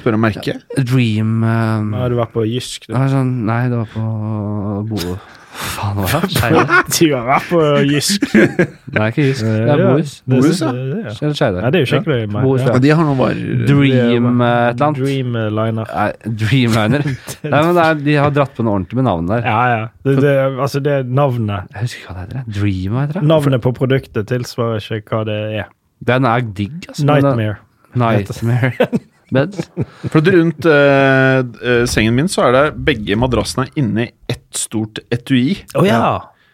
S3: spørre om merke?
S1: Dream um,
S2: Nå har du vært på Jysk. Du.
S1: det var sånn, Nei, det var på Bo... Faen, hva var det? Skeidar?
S2: du har vært på Jysk.
S1: Det er ikke Jysk, det er Bohus.
S3: Bohus, ja.
S2: ja. Det, det, ja.
S1: Eller
S2: Nei,
S1: Skeidar.
S2: det er jo skikkelig meg.
S1: Bohus, ja.
S3: Ja, de har noen varer
S1: Dream eh, et eller annet.
S2: Dreamliner.
S1: Nei, Dreamliner. Nei, men det er, De har dratt på noe ordentlig med navnet der.
S2: Ja, ja. Det, det, altså, det er navnet.
S1: Jeg husker ikke hva det heter. jeg. Dream, heter det.
S2: Navnet på produktet tilsvarer ikke hva det er.
S1: Den er digg, altså. men den-
S2: Nightmare.
S1: Nightmare Beds.
S3: For at rundt øh, øh, sengen min så er det begge madrassene er inne i ett stort etui.
S2: Å ja.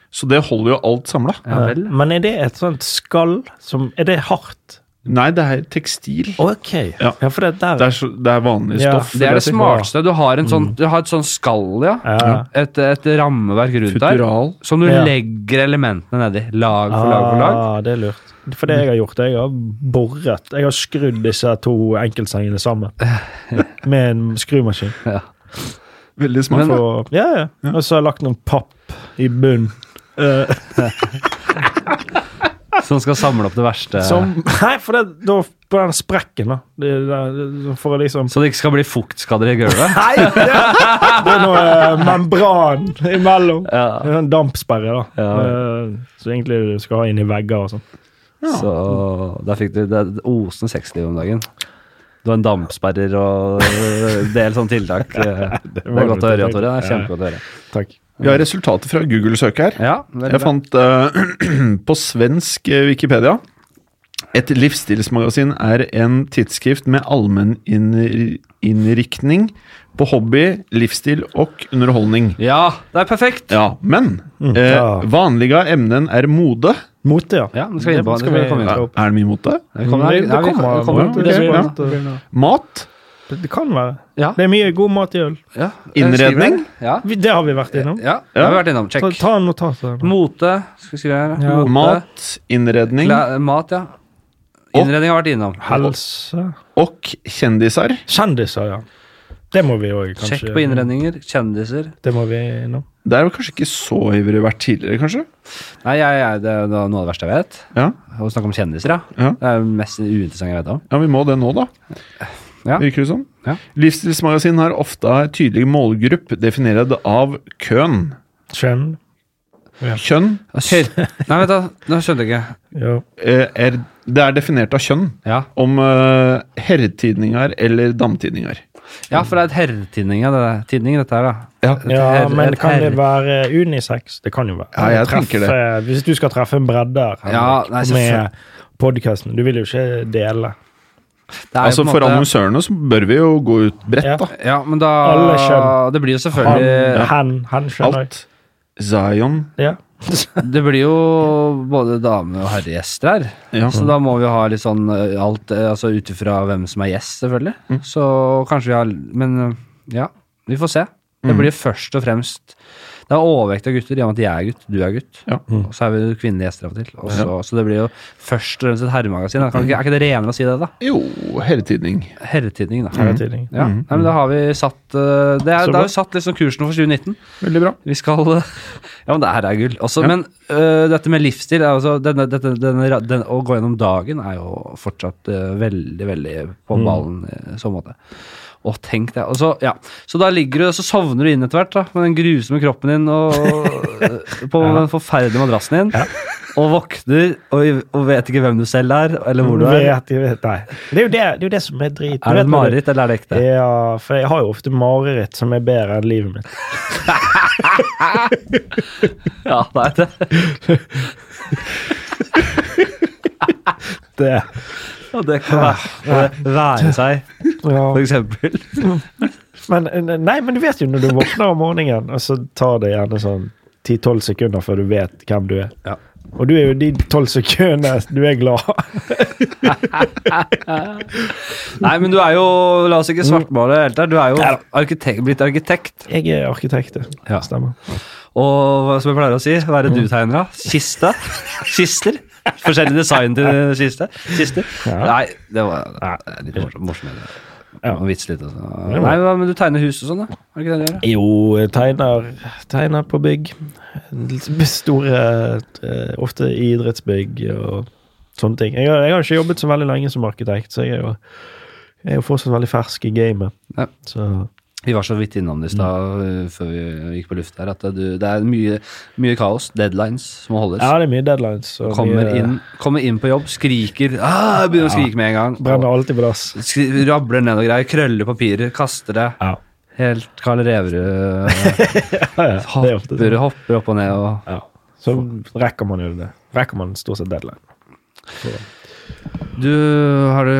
S3: Så det holder jo alt samla.
S1: Ja vel.
S2: Eh, Men er det et sånt skall som Er det hardt?
S3: Nei, det er tekstil.
S2: OK. Ja,
S3: Ja.
S2: for det der
S3: Det er, så, det er vanlig
S2: Ja.
S3: stoff.
S1: Det er det
S3: vil jeg si.
S1: smarteste. Du har, en sånn, du har et sånn skall, ja.
S2: Mm. Ja.
S1: Et, et rammeverk rundt der.
S3: Futural.
S1: Som du
S2: Ja.
S1: legger elementene nedi. Lag for lag for lag.
S2: Ah, det er lurt. For det jeg har gjort, jeg har boret Jeg har skrudd disse to enkeltsengene sammen med en skrumaskin.
S3: Veldig smart.
S1: Men-
S2: Og, ja, ja. og så har jeg lagt noen papp i bunnen. Eh,
S1: Som skal samle opp det verste.
S2: Ah. som Nei, for det, da, på den sprekken, da. Det, det, det- for å liksom
S1: Så det ikke skal bli fuktskader i gulvet.
S2: Nei! Det, det er noe eh, membran imellom.
S1: Ja.
S2: Det er en dampsperre, da.
S1: Ja.
S2: Eh, så egentlig du skal ha inn i vegger og sånn.
S3: Ja.
S1: Så der fikk du det er et osende sexliv om dagen. Det var en dampsperrer og en del sånne tiltak. Det er godt å høre, Tore. Det er kjempegodt å høre.
S2: Takk.
S3: Vi har resultatet fra Google-søket her.
S1: Ja, veldig
S3: Jeg
S1: bra.
S3: fant eh, på svensk eh, Wikipedia Et livsstilsmagasin er en tidsskrift med allmenninnriktning på hobby, livsstil og underholdning.
S1: Ja, det er perfekt!
S3: Ja, men eh,
S2: ja.
S3: vanlige emnen er mode.
S2: Mote, ja.
S1: Ja, det skal vi inn på. Det skal vi komme inn
S3: Ja,
S1: på.
S3: er det mye mote?
S1: Det kommer her.
S2: Det- det
S1: Ja, vi-
S2: kommer.
S1: vi kommer inn på
S3: Det
S1: det.
S3: blir
S1: Ja.
S2: bra.
S3: Mat?
S2: Det, det kan være.
S1: Ja.
S2: Det er mye god mat i øl.
S1: Ja.
S3: Innredning?
S1: Ja.
S2: Vi- Det har vi vært innom.
S1: ja, det har vi vært innom.
S2: Ta,
S1: Eh, Check.
S2: ta en notat. her nå.
S1: Mote. Skal vi skrive her.
S2: Ja.
S1: Mote.
S3: Mat, innredning
S1: Kla- mat, ja. Innredning har vært innom.
S2: Helse
S3: og kjendiser.
S2: Kjendiser, ja. Det må vi òg kanskje
S1: Sjekk på innredninger. Kjendiser.
S2: Det må vi innom.
S3: Det er jo kanskje ikke så ivrig vært tidligere, kanskje?
S1: Nei, jeg, jeg, det er noe av det verste jeg vet.
S3: Ja,
S1: Å snakke om kjendiser, ja.
S3: ja.
S1: Det er det mest uinteressante jeg vet om.
S3: ja vi må det nå, da.
S1: Ja.
S3: Virker det som.
S1: Ja.
S3: Livsstilsmagasin har ofte en tydelig målgruppe definert av køn.
S2: Kjønn.
S3: Kjønn
S1: Kjør. Nei, vent da. Nå skjønte jeg ikke.
S2: Ja.
S3: eh, er, Det er definert av kjønn.
S1: Ja,
S3: Om eh, herretidninger eller damtidninger.
S1: ja for det er et herretidning, ja, det der. Tidning, dette her, da. Et
S2: Ja,
S1: herre-
S2: men
S1: et
S2: kan det
S1: herre-
S2: være unisex? Det kan jo være.
S3: Ja, jeg tenker
S2: det. Hvis du skal treffe en bredder Henrik,
S1: Ja, nei, selvfølgelig.
S2: med podkasten Du vil jo ikke dele.
S1: Det er jo
S3: Altså
S1: på en
S3: For
S1: måte-
S3: annonsørene så bør vi jo gå ut bredt,
S2: Ja.
S3: da.
S1: Ja, men da
S2: Alle kjønn.
S1: Det blir jo
S2: Han,
S1: selvfølgelig
S2: hen, hen, skjønner jeg.
S3: Alt. Zion.
S2: Ja.
S1: Det blir jo både dame- og herregjester her.
S3: Ja.
S1: Så da må vi jo ha litt sånn eh, alt eh, Altså ut ifra hvem som er gjest, selvfølgelig.
S3: Mm.
S1: Så kanskje vi har Men eh, ja, vi får se.
S3: Mm.
S1: Det blir først og fremst Det er overvekt av gutter, i og med at jeg er gutt, du er gutt.
S3: Ja.
S2: Mm.
S1: Og så er vi jo kvinnelige gjester av og til. Og så, så det blir jo først og fremst et herremagasin. da. Kan ikke, er ikke det renere å si det, da?
S3: Jo, herretidning.
S1: Herretidning, da.
S2: Her er tidning.
S1: Ja, nei, men da har vi satt eh, Det
S2: Mm.
S1: er,
S2: Så
S1: da
S2: bra.
S1: har vi satt liksom kursen for 2019.
S3: Veldig bra.
S1: Vi skal eh, Ja, men det her er gull. Også, Men eh, dette med livsstil er altså, denne, dette, denne, ra- den, Å gå gjennom dagen er jo fortsatt eh, veldig, veldig på ballen i så måte. Og tenk det. Og så, ja. så da ligger du så sovner du inn etter hvert da, med den grusomme kroppen din og, og eh, på den forferdelige madrassen din. Og våkner og, og vet ikke hvem du selv er, eller hvor du er.
S2: Vet, jeg vet, nei. Det er jo det, det, er jo det som er drit. Du
S1: Er det et
S2: vet når du-
S1: mareritt, eller er det ekte?
S2: Ja, for jeg har jo ofte mareritt som er bedre enn livet mitt.
S1: Ja, det er det.
S2: Det,
S1: Og det kan være, være seg,
S2: ja.
S1: for eksempel.
S2: Men, eh, nei, men du vet jo når du våkner om morgenen, og så tar det gjerne sånn 10-12 sekunder før du vet hvem du er.
S1: Ja.
S2: Og du er jo de 12 sekundene du er glad.
S1: Nei, men du er jo, la oss
S2: Mm.
S1: ikke svartmale helt der, du er jo arkitekt, blitt arkitekt.
S2: Jeg er arkitekt, det.
S1: Ja.
S2: Stemmer.
S1: Og hva som jeg pleier å si, hva er
S2: Mm.
S1: det du tegner da? Kiste? Kister? Forskjellig design til kiste? Kister?
S2: Ja.
S1: Nei, det var det er litt morsomt. morsomt med det.
S2: Ja.
S1: Og vits litt og sånn. Nei, hva- men du tegner hus og sånn, da? Er det ikke det du gjør? da?
S2: Jo, jeg tegner, tegner på bygg. Litt Store eh, Ofte idrettsbygg og sånne ting. Jeg har, jeg har ikke jobbet så veldig lenge som arkitekt, så jeg er jo, jeg er jo fortsatt veldig fersk i gamet.
S1: Ja.
S2: Så
S1: Vi var så vidt innom det i stad
S2: Mm.
S1: øh, før vi gikk på luft her, at du, det er mye, mye kaos. Deadlines som må holdes.
S2: ja, eh, det er mye deadlines. og
S1: Kommer
S2: mye-
S1: inn, kommer inn på jobb, skriker ah, Begynner å skrike med en gang.
S2: Brenner alltid på dass.
S1: Skri, rabler ned og greier, krøller papirer, kaster det.
S2: Ja.
S1: Helt Karl Reverud
S2: Ja, ja. Det er ofte sånn.
S1: hopper, hopper opp og ned og
S2: Ja. Så rekker man jo det. Rekker man stort sett deadline.
S1: Du, har du,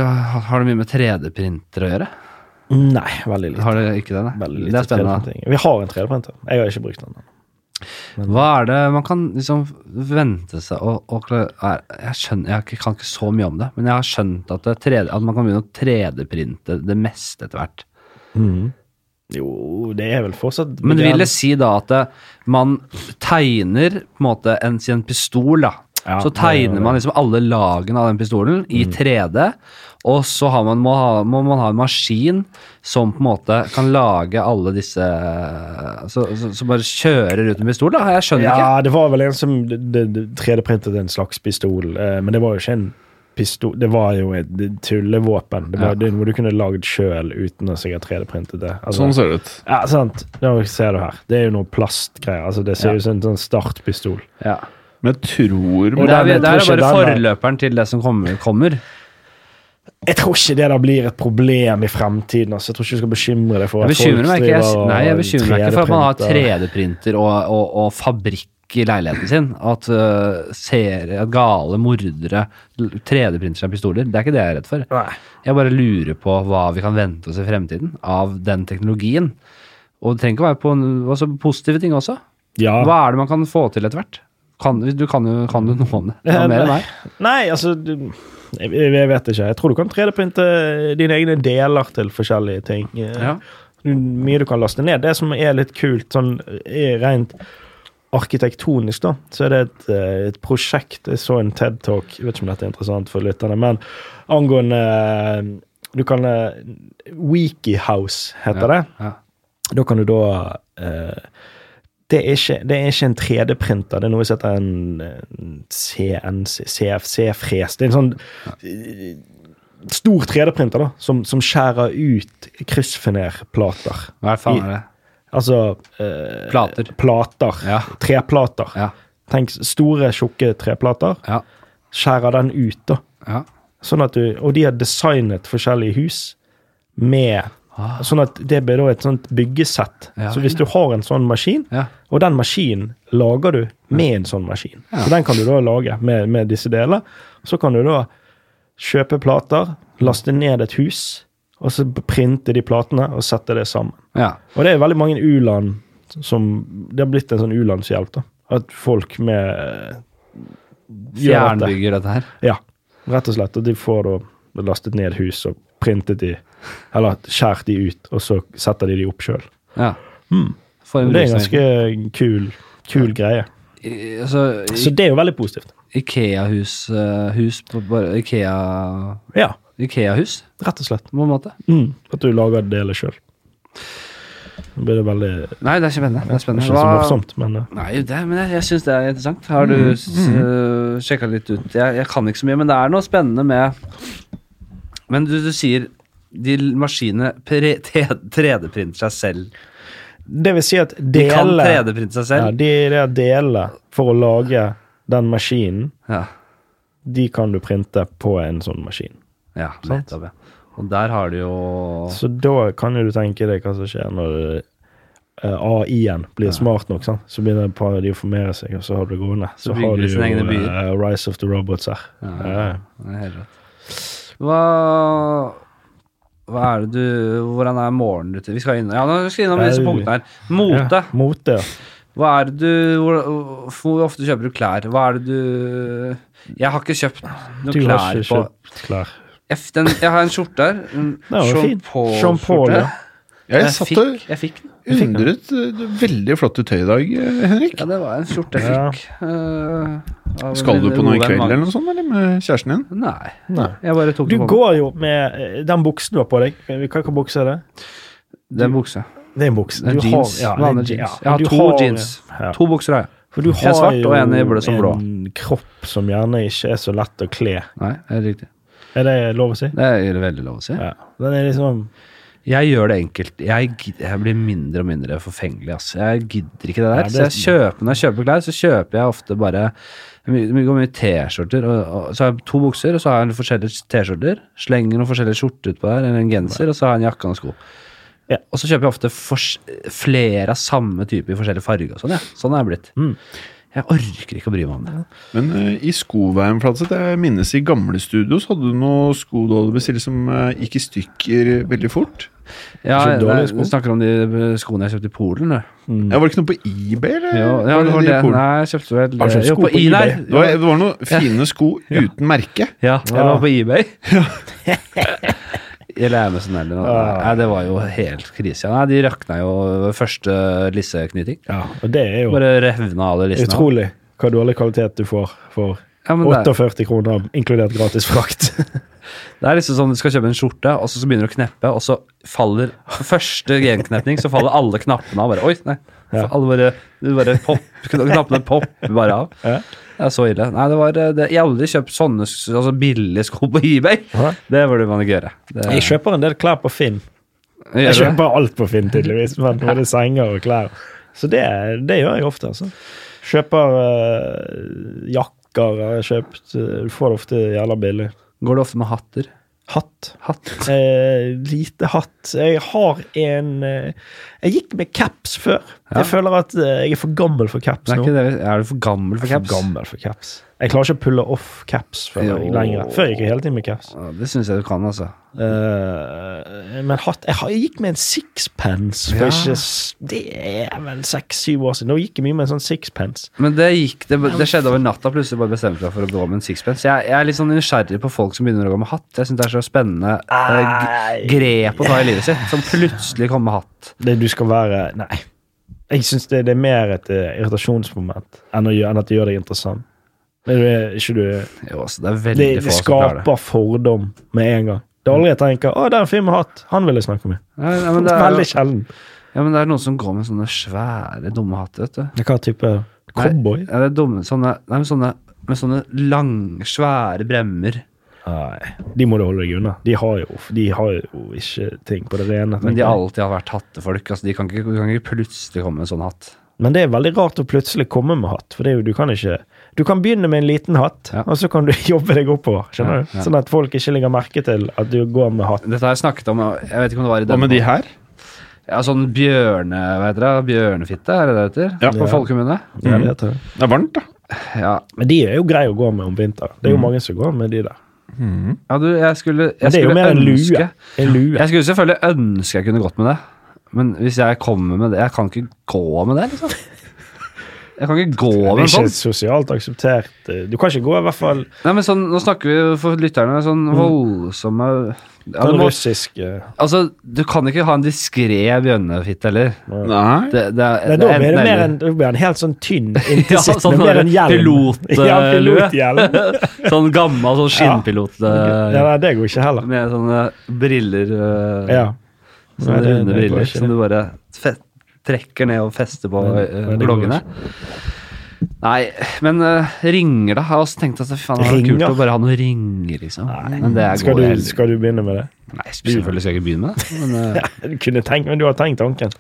S1: har du mye med 3D-printer å gjøre?
S2: Nei, veldig lite.
S1: Har du ikke det? nei?
S2: Veldig
S1: Det
S2: lite
S1: er spennende.
S2: 3D-printing. Vi har en 3D-printer. Jeg har ikke brukt den. ennå.
S1: Hva er det man kan liksom vente seg å å kla- er- Jeg skjønner, jeg har ikke- kan ikke så mye om det, men jeg har skjønt at, det er 3D, at man kan begynne å 3D-printe det meste etter hvert.
S2: Jo, det er vel fortsatt
S1: Men det vil jeg si da at eh, man tegner på en måte en, si en pistol, da.
S2: Ja,
S1: så
S2: det er jo
S1: tegner man liksom alle lagene av den pistolen i 3D, og så har man, må, ha, må man ha en maskin som på en måte kan lage alle disse Så, så, så bare kjører ut en pistol, da? Jeg skjønner ikke.
S2: Ja, det var vel en som det- det- det 3D-printet en slags pistol, eh, men det var jo ikke en pistol Det var jo et tullevåpen. Det var
S1: Ja.
S2: det hvor du kunne lagd sjøl uten å sikkert 3D-printet det. Altså,
S3: Sånn ser det ut.
S2: ja, sant. Nå ser du her. Det er jo noe plastgreier. Altså, det ser ut som en sånn startpistol.
S1: Ja.
S3: Men jeg tror
S1: Og
S2: Og
S1: det er,
S2: den-
S1: det
S2: jeg tror
S1: er
S2: ikke
S1: bare
S2: den er-
S1: forløperen til det som kommer. kommer.
S2: Jeg tror ikke det da blir et problem i fremtiden. Altså. Jeg tror ikke du skal bekymre deg for
S1: Jeg
S2: at folk
S1: bekymrer meg ikke, jeg,
S2: driver
S1: nei, jeg
S2: og
S1: bekymrer meg ikke for at man har
S2: 3D-printer.
S1: 3D-printer og, og, og fabrikk i leiligheten sin. At, øh, serie, at gale mordere l- 3D-printer seg pistoler. Det er ikke det jeg er redd for.
S2: Nei.
S1: Jeg bare lurer på hva vi kan vente oss i fremtiden av den teknologien. Og det trenger ikke å være på en- altså, positive ting også.
S2: Ja.
S1: Hva er det man kan få til etter hvert? Kan, du kan jo kan du noe om det. Noe mer enn meg.
S2: Nei, altså du- jeg, jeg vet ikke. Jeg tror du kan 3D-printe dine egne deler til forskjellige ting.
S1: Ja.
S2: Du- Mye du kan laste ned. Det som er litt kult, sånn er rent arkitektonisk, da, så er det et, eh, et prosjekt Jeg så en TED Talk, jeg vet ikke om dette er interessant for lytterne, men angående eh, Du kan eh, Wikihouse heter det.
S1: Ja.
S2: Da kan du da eh, det, er ikke, det er ikke en 3D-printer, det er noe som heter en, en CNC, CFC-fres. Det er en sånn eh, stor 3D-printer da, som, som skjærer ut kryssfinerplater.
S1: Hva faen er det?
S2: Altså eh,
S1: Plater.
S2: plater.
S1: Ja.
S2: Treplater.
S1: Ja.
S2: Tenk store, tjukke treplater.
S1: Ja.
S2: Skjærer den ut, da.
S1: ja.
S2: Sånn at du, og de har designet forskjellige hus med Sånn at det blir da et sånt byggesett.
S1: Ah. Ja.
S2: så hvis du har en sånn maskin,
S1: Ja.
S2: og den maskinen lager du med en sånn maskin, så den kan du da lage med, med disse deler, så kan du da kjøpe plater, laste ned et hus, og så printe de platene og sette det sammen.
S1: ja.
S2: Og det er veldig mange u-land som Det har blitt en sånn u-landshjelp, da. At folk med gjør dette.
S1: Fjernbygger dette her.
S2: Ja, rett og slett. Og de får da lastet ned hus og printet de, eller skjært de ut, og så setter de de opp sjøl.
S1: Ja. For
S2: Hmm. Det er en
S1: løsning.
S2: ganske kul, kul greie.
S1: I- altså, i-
S2: Så det er jo veldig positivt.
S1: Ikea-hus eh, hus på bare Ikea
S2: Ja,
S1: Ikea-hus,
S2: rett og slett.
S1: på en måte.
S2: Mm, at du lager deler sjøl. Da blir det veldig det
S1: Nei, det er ikke spennende. Det er
S2: er
S1: spennende.
S2: Ikke Hmm. så morsomt, men eh,
S1: Nei, det, men jeg, jeg syns det er interessant. Har du mm. sjekka litt ut? Jeg, jeg kan ikke så mye, men det er noe spennende med Men du, du sier de l- maskinene pre- te- 3D-printer seg selv.
S2: Det vil si at
S1: De kan
S2: deler
S1: 3D-printe seg
S2: ja,
S1: selv?
S2: de, de er deler for å lage den maskinen,
S1: Ja.
S2: de kan du printe på en sånn maskin.
S1: ja
S2: Sant.
S1: nettopp, ja. Og der har du jo
S2: Så da kan jo du tenke deg hva som skjer når eh, AI-en blir smart nok. Sant? Så begynner et par av de å formere seg, og så har du det gående. Så,
S1: Så bygger
S2: har
S1: de
S2: du
S1: sine egne byer.
S2: eh, Rise of the Robots her. Ja.
S1: Det er helt rått. Hva hva er det du Hvordan er morgenen ute? Vi skal inn, ja, nå skal vi innom disse punktene her. Mote.
S2: Ja, mote, ja.
S1: Hva er det du hvor, hvor ofte kjøper du klær? Hva er det du Jeg har ikke kjøpt noen
S2: Du har
S1: klær
S2: ikke
S1: på
S2: kjøpt klær.
S1: F, den, Jeg har en skjorte her. en
S2: Den var
S1: Jean
S2: fin.
S1: Paul-skjorte.
S2: Jean Paul, ja.
S1: Jeg,
S3: Jeg satt og
S1: fikk, jeg fikk den.
S3: undret eh, det er Veldig flott du tøy i dag, eh, Henrik.
S1: Ja, det var en skjorte jeg
S2: Ja.
S1: fikk. eh, av
S3: Skal
S1: min
S3: du på noe i
S1: gode
S3: kveld
S1: venn
S3: eller noe sånt, eller med kjæresten din?
S1: Magnus. Nei.
S2: Nei.
S1: Jeg bare tok
S2: Du
S1: den på
S2: går jo med eh, den buksen du har på deg. Eh, Hva hvilken bukse er det?
S1: meg. Det er en bukse.
S2: Det er en bukse.
S1: Det er
S2: Du
S1: jeans.
S2: har- ja,
S1: Vanlig
S2: det er-
S1: jeans.
S2: ja,
S1: Jeg har
S2: du
S1: to
S2: har-
S1: jeans.
S2: ja.
S1: To bukser har jeg.
S2: For du
S1: Jeg er
S2: har
S1: svart, og
S2: jo
S1: en i blå som blå.
S2: en kropp som gjerne ikke er så lett å kle.
S1: Nei, det er riktig.
S2: Er det lov å si?
S1: Det er veldig lov å si.
S2: Ja. Den er liksom
S1: Jeg gjør det enkelt. Jeg, gid- jeg blir mindre og mindre forfengelig. Ass. Jeg gidder ikke det der.
S2: Nei, det-
S1: Så jeg kjøper, Når jeg kjøper klær, så kjøper jeg ofte bare my- my- går mye T-skjorter. og- og- Så har jeg to bukser, og så har jeg forskjellige T-skjorter. Slenger noen forskjellige skjorter utpå der, eller en genser, og så har jeg en jakke og noen sko.
S2: Ja.
S1: Og så kjøper jeg ofte fors- flere av samme type i forskjellige farger og sånn. Ja. Sånn er jeg blitt. Jeg orker ikke å bry meg om det.
S3: Men eh, i skoveien, Flatseth, jeg minnes i gamle studio, så hadde du noen sko du hadde bestilt som eh, gikk i stykker veldig fort.
S1: Ja,
S2: Så dårlige
S1: nei,
S2: sko.
S1: du snakker om de eh, skoene jeg kjøpte i Polen, du.
S3: Jeg var det ikke noe på eBay, eller?
S1: Jo, ja, det var
S3: de i
S1: det.
S3: Polen?
S1: Nei, jeg kjøpte vel eh,
S2: Har du kjøpt
S1: jo,
S2: sko på
S1: Inei.
S2: eBay?
S3: Det var, det var noen fine sko uten merke.
S1: Ja, jeg
S2: Ja.
S1: var på eBay. Eller Amazon eller noe.
S2: Ja.
S1: Nei, det var jo helt krise. Nei, de røkna jo ved første lisseknyting.
S2: Ja, og det er jo
S1: Bare revna alle lissene. av.
S2: Utrolig hva dårlig kvalitet du får for
S1: Ja, men det,
S2: 48 kroner, inkludert gratis frakt.
S1: er- det er liksom sånn du skal kjøpe en skjorte, og så, så begynner du å kneppe, og så faller For første genknepning så faller alle knappene av. Bare, Oi, nei.
S2: Ja.
S1: Alle bare, du bare pop, Knappene popper bare av.
S2: Ja.
S1: Det er så ille. Nei, det var, eh, det, jeg har aldri kjøpt sånne s- altså billige sko på eBay.
S2: Nei.
S1: Det burde man ikke gjøre. Det,
S2: Jeg kjøper en del klær på Finn.
S1: Gjør
S2: Jeg
S1: du det?
S2: kjøper alt på Finn, tydeligvis. Men både senger og klær. Så det, det gjør jeg ofte, altså. Kjøper eh, jakker har jeg kjøpt. eh, Du får det ofte jævla billig.
S1: Går det ofte med hatter?
S2: Hatt.
S1: Hatt.
S2: Eh, lite hatt. Jeg har en eh, Jeg gikk med caps før.
S1: Ja.
S2: Jeg føler at eh, jeg er for gammel for caps
S1: Det er,
S2: nå.
S1: ikke det. vi- er du for gammel for
S2: Jeg er
S1: caps?
S2: for gammel for caps. Jeg klarer ikke å pulle off caps før jeg,
S1: Jo.
S2: lenger. Før jeg gikk jeg hele tiden med caps.
S1: Ja, det syns jeg du kan, altså.
S2: Eh, men hatt jeg, har- jeg gikk med en sixpence for
S1: Ja.
S2: ikke s- Det er vel seks-syv år siden. Nå gikk jeg mye med en sånn sixpence.
S1: Men det gikk, det, det skjedde over natta. Plutselig bare bestemte jeg meg for å gå med en sixpence. Jeg, jeg er litt sånn nysgjerrig på folk som begynner å gå med hatt. Jeg syns det er så spennende eh, g-
S2: Nei.
S1: grep å ta i livet sitt, som plutselig kommer med hatt.
S2: Det du skal være Nei. Jeg syns det, det er mer et eh, irritasjonsmoment enn, å, gjø- enn at det gjør deg interessant. Det er ikke du
S1: Jo, altså, det er veldig
S2: det,
S1: få
S2: det
S1: som klarer det.
S2: skaper fordom med en gang. Det er aldri jeg tenker 'Å, det er en fyr med hatt. Han vil jeg snakke med'.
S1: Ja, ja, men det er,
S2: Veldig
S1: jo-
S2: sjelden.
S1: ja, men det er noen som går med sånne svære, dumme hatter, vet du.
S2: Hva type cowboy?
S1: Nei, ja, det er dumme, sånne, nei, men sånne, med sånne lange, svære bremmer.
S2: Nei, de må du holde deg unna. De har jo, de har jo ikke ting på det rene.
S1: Men
S2: tenker
S1: de har
S2: jeg.
S1: alltid vært hattefolk. Altså, de kan ikke, du kan ikke plutselig komme med en sånn hatt.
S2: Men det er veldig rart å plutselig komme med hatt, for det er jo, du kan ikke Du kan begynne med en liten hatt,
S1: Ja.
S2: og så kan du jobbe deg oppover. Skjønner
S1: Ja,
S2: du?
S1: ja.
S2: Sånn at folk ikke legger merke til at du går med hatt.
S1: Dette har jeg snakket om, jeg vet ikke om det var i
S3: Hva
S1: den
S3: med de her?
S1: Ja, sånn bjørne, hva heter det? Bjørnefitte, er det det heter?
S3: Ja.
S1: På folkemunne?
S2: Ja,
S3: Mm.
S2: det heter det.
S3: Det er varmt, da.
S1: Ja.
S2: Men de er jo greie å gå med om vinteren. Det er jo mange som går med de der.
S1: ja, du, jeg skulle, Mm. jeg
S2: Men det er jo
S1: skulle
S2: mer en lue.
S1: ønske
S2: En lue.
S1: Jeg skulle selvfølgelig ønske jeg kunne gått med det. Men hvis jeg kommer med det Jeg kan ikke gå med det, liksom. Jeg kan ikke gå
S2: Det
S1: med
S2: er
S1: en
S2: ikke
S1: sånn.
S2: sosialt akseptert. eh, Du kan ikke gå i hvert fall
S1: Nei, men sånn, Nå snakker vi jo for lytterne sånn
S2: Mm.
S1: voldsomme ja, du
S2: den
S1: må,
S2: russiske Nei,
S1: Altså, du kan ikke ha en diskré bjørnefitte heller.
S3: Nei.
S1: Det, det er,
S2: da
S1: er
S2: blir det
S1: enten
S2: mer
S1: eller.
S2: en, da blir det en helt sånn tynn
S1: Ja,
S2: inntilsittende.
S1: sånn
S2: mer
S1: der
S2: en hjelm.
S1: pilot, eh,
S2: ja,
S1: lue.
S2: pilothjelm.
S1: Sånn gammel sånn skinnpilot eh,
S2: Ja, nei, det går ikke heller.
S1: med sånne briller eh,
S2: Ja. Nei,
S1: Sånne
S2: det-
S1: runde
S2: det går
S1: briller
S2: ikke
S1: som
S2: det.
S1: du bare fe- trekker ned og fester på
S2: Nei,
S1: eh,
S2: nei, det går
S1: bloggene. Nei, men eh, ringer, da? Jeg har også tenkt at fy faen, det hadde vært kult
S2: Ringer?
S1: å bare ha noen ringer, liksom. men det er
S2: Skal
S1: gode
S2: du,
S1: helger.
S2: skal du begynne med det?
S1: Nei, selvfølgelig skal jeg ikke begynne med det. Men, eh,
S2: Du kunne tenkt, men du har tenkt tanken.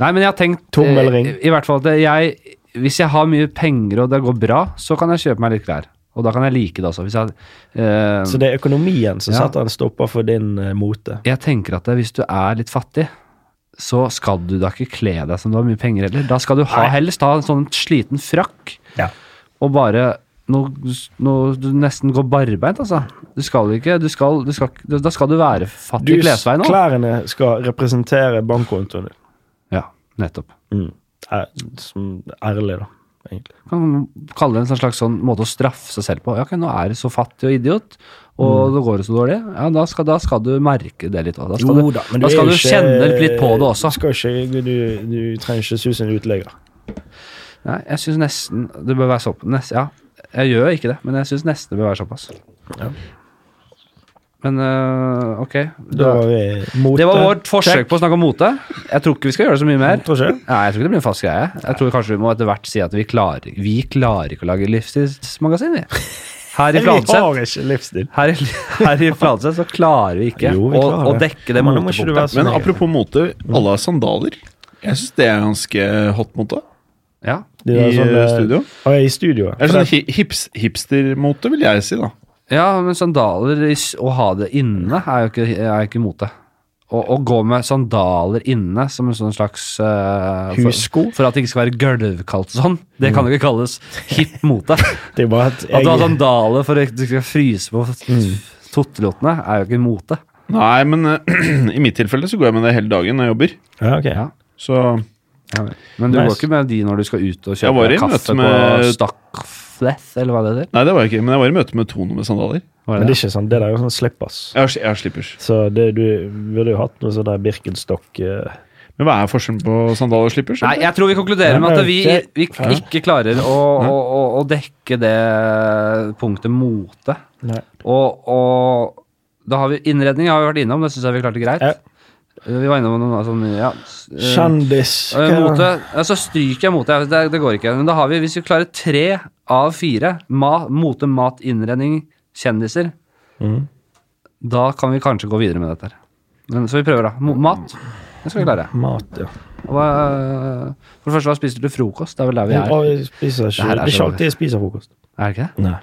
S1: nei, men jeg har tenkt
S2: Tommelring.
S1: eh, I hvert fall at jeg Hvis jeg har mye penger og det går bra, så kan jeg kjøpe meg litt klær. Og da kan jeg like det også. Hvis jeg, eh,
S2: Så det er økonomien som
S1: Ja.
S2: setter en stopper for din eh, mote.
S1: jeg tenker at det, hvis du er litt fattig, så skal du da ikke kle deg som du har mye penger heller. Da skal du ha helst ha en sånn sliten frakk
S2: Ja.
S1: og bare noe, noe Du nesten går barbeint, altså. Du skal ikke du skal, du skal, ikke- Da skal du være
S2: Du,
S1: fattig i klesveien òg.
S2: klærne skal representere bankkontoen din.
S1: Ja, nettopp.
S2: Eh, Som ærlig, da. Egentlig.
S1: Kan kalle det en sånn slags sånn måte å straffe seg selv på. Ja, ok, nå er du så fattig og idiot,
S2: Mm.
S1: og det går jo så dårlig. Ja, da skal, da skal du merke det litt òg. Da skal du,
S2: men
S1: da
S2: er
S1: skal
S2: jo
S1: du
S2: ikke-
S1: kjenne litt på det også.
S2: Skal ikke, du, du trenger ikke sus en utlegger.
S1: Nei, jeg syns nesten det bør være såpass. Nest, ja, jeg gjør ikke det, men jeg syns nesten det bør være såpass.
S2: Ja.
S1: Men øh, ok.
S2: Da
S1: Da-
S2: var vi mote.
S1: det var vårt forsøk på å snakke om mote. Jeg tror ikke vi skal gjøre det så mye mer.
S2: Tror ikke.
S1: Nei, jeg tror ikke det blir en fast greie. Jeg tror kanskje vi må etter hvert si at vi klarer, vi klarer ikke å lage livsstilsmagasin, vi. Her i
S2: Vi har
S1: Fladseth.
S2: ikke livsstil.
S1: Her i, her i Fladseth så klarer vi ikke
S2: Jo, vi klarer
S1: å, å
S2: det.
S1: dekke det
S2: Men da må ikke du være
S1: motepunktet.
S2: så
S3: Men
S2: negativ.
S3: apropos mote, alle har sandaler. Jeg syns det er ganske hot mote
S1: Ja.
S2: De der
S3: i
S2: sånne-
S3: eh, studio.
S2: Å, jeg er sånn, i studio.
S3: Det er sånn hi- hips, hipstermote, vil jeg si, da.
S1: Ja, men sandaler i s- å ha det inne er jo ikke, er jo ikke mote. Å, å gå med sandaler inne som en sånn slags eh,
S2: Hussko?
S1: For, for at det ikke skal være gulvkaldt og sånn. Det kan jo ikke kalles hipp mote. At
S2: Det er bare at
S1: du har sånn-
S2: jeg, Mm.
S1: sandaler for at du ikke skal fryse på tottelottene, er jo ikke mote.
S3: Nei, men eh, i mitt tilfelle så går jeg med det hele dagen når jeg jobber.
S2: ja, ok.
S1: Ja.
S3: Så
S1: Men du
S2: Nice.
S1: går ikke med de når du skal ut og
S3: Jeg
S1: kjøpe
S3: var i møte
S1: kaffe på
S3: med-
S1: Stackfleth, eller hva det heter.
S3: Nei, det var jeg ikke. Men jeg var i møte med Tone med sandaler.
S1: Var
S2: Men det
S1: det?
S2: er ikke sånn, det der er jo sånn slippers.
S3: Jeg har, jeg har slippers.
S2: Så det, du burde jo hatt noe sånn der Birkenstock eh,
S3: Men hva er forskjellen på sandal og slippers?
S1: Nei, jeg tror vi konkluderer med at vi, vi ikke klarer å, å, å, å dekke det punktet mote.
S2: Nei.
S1: Og, og da har vi innredning har vi vært innom, det syns jeg vi klarte greit.
S2: Ja.
S1: Eh, Vi var innom noen sånn, ja. s- eh,
S2: Kjendis.
S1: eh,
S2: hva-
S1: mote. Ja, så stryker jeg mote. ja, Det, det går ikke. Men da har vi, hvis vi klarer tre av fire, ma, mote, mat, innredning, kjendiser,
S2: Mhm.
S1: da kan vi kanskje gå videre med dette her. Men, så vi prøver, da. Mo, mat. Det skal vi klare.
S2: eh, Mat, ja.
S1: Hva, for det første, hva spiser du til frokost? Det er vel der vi
S2: Jeg,
S1: er?
S2: jeg spiser
S1: Det
S2: ikke
S1: her
S2: Det
S1: er
S2: er ikke
S1: så-
S2: alltid jeg spiser frokost.
S1: Er det ikke det?
S2: Nei.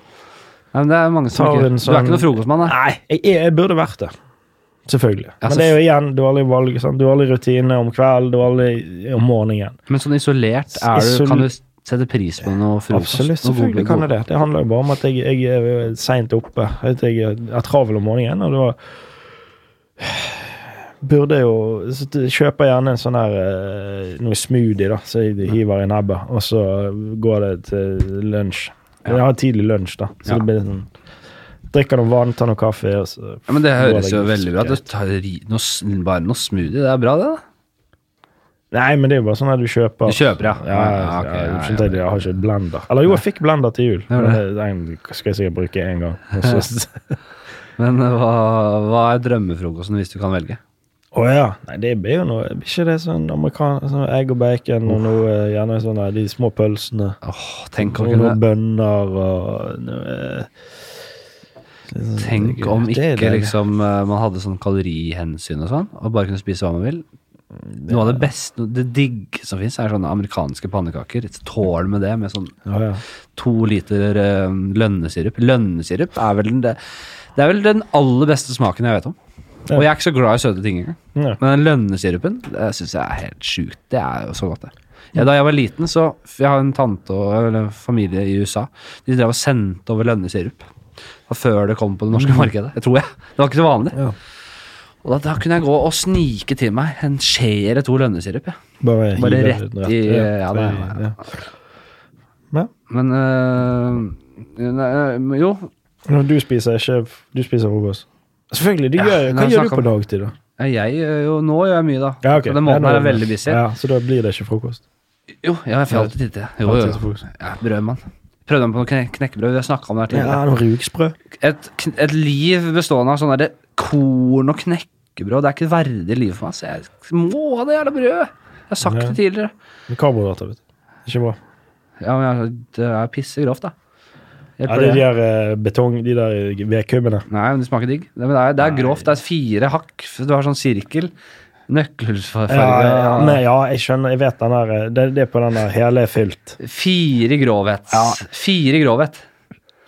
S1: Nei, men det er mange som
S2: Tar
S1: ikke
S2: en
S1: Du er
S2: sånn-
S1: ikke noen frokostmann, nei.
S2: Nei, jeg, jeg burde vært det. Selvfølgelig.
S1: Ja,
S2: Men det er jo igjen dårlig valg. Sant? Dårlig rutine om kvelden, dårlig om morgenen.
S1: Men sånn isolert er du,
S2: Isol-
S1: kan du sette pris på noe frokost?
S2: Absolutt.
S1: noe god-
S2: Selvfølgelig kan jeg det. Det handler jo bare om at jeg, jeg er seint oppe. At jeg er travel om morgenen, og da burde jeg jo så t- Kjøper jeg gjerne en sånn her eh, noe smoothie, da, så jeg hiver i nebbet, og så går det til lunsj. Jeg har tidlig lunsj, da, så
S1: Ja.
S2: det blir sånn Drikker noe vann, tar noe kaffe og så
S1: Ja, men Det høres jo
S2: går det
S1: veldig bra ut.
S2: greit.
S1: Du tar ri- noe, s- bare noe smoothie. Det er bra, det. da.
S2: Nei, men det er jo bare sånn at du kjøper
S1: Du kjøper, ja. Ja,
S2: Ja, ja,
S1: ok,
S2: ja,
S1: ja,
S2: skjønte
S1: ja.
S2: jeg, jeg har ikke blender. Eller jo, jeg fikk blender til jul.
S1: Ja,
S2: Men
S1: det.
S2: det- Den skal jeg sikkert bruke én gang. og så-
S1: Men eh, hva, hva er drømmefrokosten hvis du kan velge?
S2: Å ja. Nei, det blir jo noe Blir ikke det sånn amerikan... Sånn egg og bacon og noe eh, Gjerne sånne de små pølsene.
S1: Åh, tenk om,
S2: Og noen
S1: kunne,
S2: bønner og noe eh, litt sånn-
S1: tenk om
S2: Det er
S1: ikke
S2: deilig.
S1: liksom, eh, man hadde sånn kalorihensyn og sånn, og bare kunne spise hva man vil.
S2: Mm,
S1: Noe av det beste, det digg som fins, er sånne amerikanske pannekaker. Et tårn med det, med sånn
S2: Ja, ja.
S1: to liter eh, lønnesirup. Lønnesirup er vel den, det, det er vel den aller beste smaken jeg vet om.
S2: Ja.
S1: Og jeg er ikke så glad i søte ting engang.
S2: Ja.
S1: Men den lønnesirupen det syns jeg er helt sjukt. Det er jo så godt, det. Ja, da jeg var liten, så Jeg har en tante og eller en familie i USA. De drev og sendte over lønnesirup. Det var før det kom på det norske markedet. Jeg tror jeg. Det var ikke så vanlig.
S2: Mm. Ja.
S1: Og da, da kunne jeg gå og snike til meg en skje eller to lønnesirup. Ja.
S2: Bare, hive
S1: Bare
S2: den
S1: rett i Ja, det er
S2: ja. Ja.
S1: Men øh, nei, øh, Jo,
S2: Når du spiser ikke Du spiser frokost. Selvfølgelig. Du
S1: Ja,
S2: gjør,
S1: men
S2: hva
S1: jeg
S2: gjør du
S1: snakker
S2: på dagtid, da?
S1: jeg gjør jo Nå gjør jeg mye, da.
S2: Ja, ok.
S1: Så den måten
S2: Ja,
S1: her
S2: nå-
S1: er veldig busy.
S2: Ja, så da blir det ikke frokost?
S1: Jo, ja, jeg får alltid tid til det. Jo, jo,
S2: Alltid
S1: jo.
S2: frokost.
S1: Ja, brødmann. Prøvde meg på noe kne- knekkebrød. Vi har snakket om det her tidligere.
S2: Ja, noe rugsprø.
S1: Et, kn- et liv bestående av sånn derre korn og knekkebrød, det er ikke et verdig liv for meg. Så jeg må ha det jævla brødet! Jeg har sagt
S2: Ja.
S1: det tidligere.
S2: Med Karbohydrater, vet du. Ikke bra.
S1: Ja, men jeg, det er pissegrovt, da.
S2: Ja,
S1: Hjelper
S2: det
S1: det?
S2: er de der eh, betong... De der eh, vedkubbene.
S1: Nei, men det smaker digg. Nei, men Det er, det er grovt. Det er fire hakk. Du har sånn sirkel. Nøkkelfarge.
S2: Ja, ja, nei, ja, jeg skjønner. Jeg vet den der eh, Det, det er på den der hele er fylt.
S1: Fire grovhet. Fire grovhet.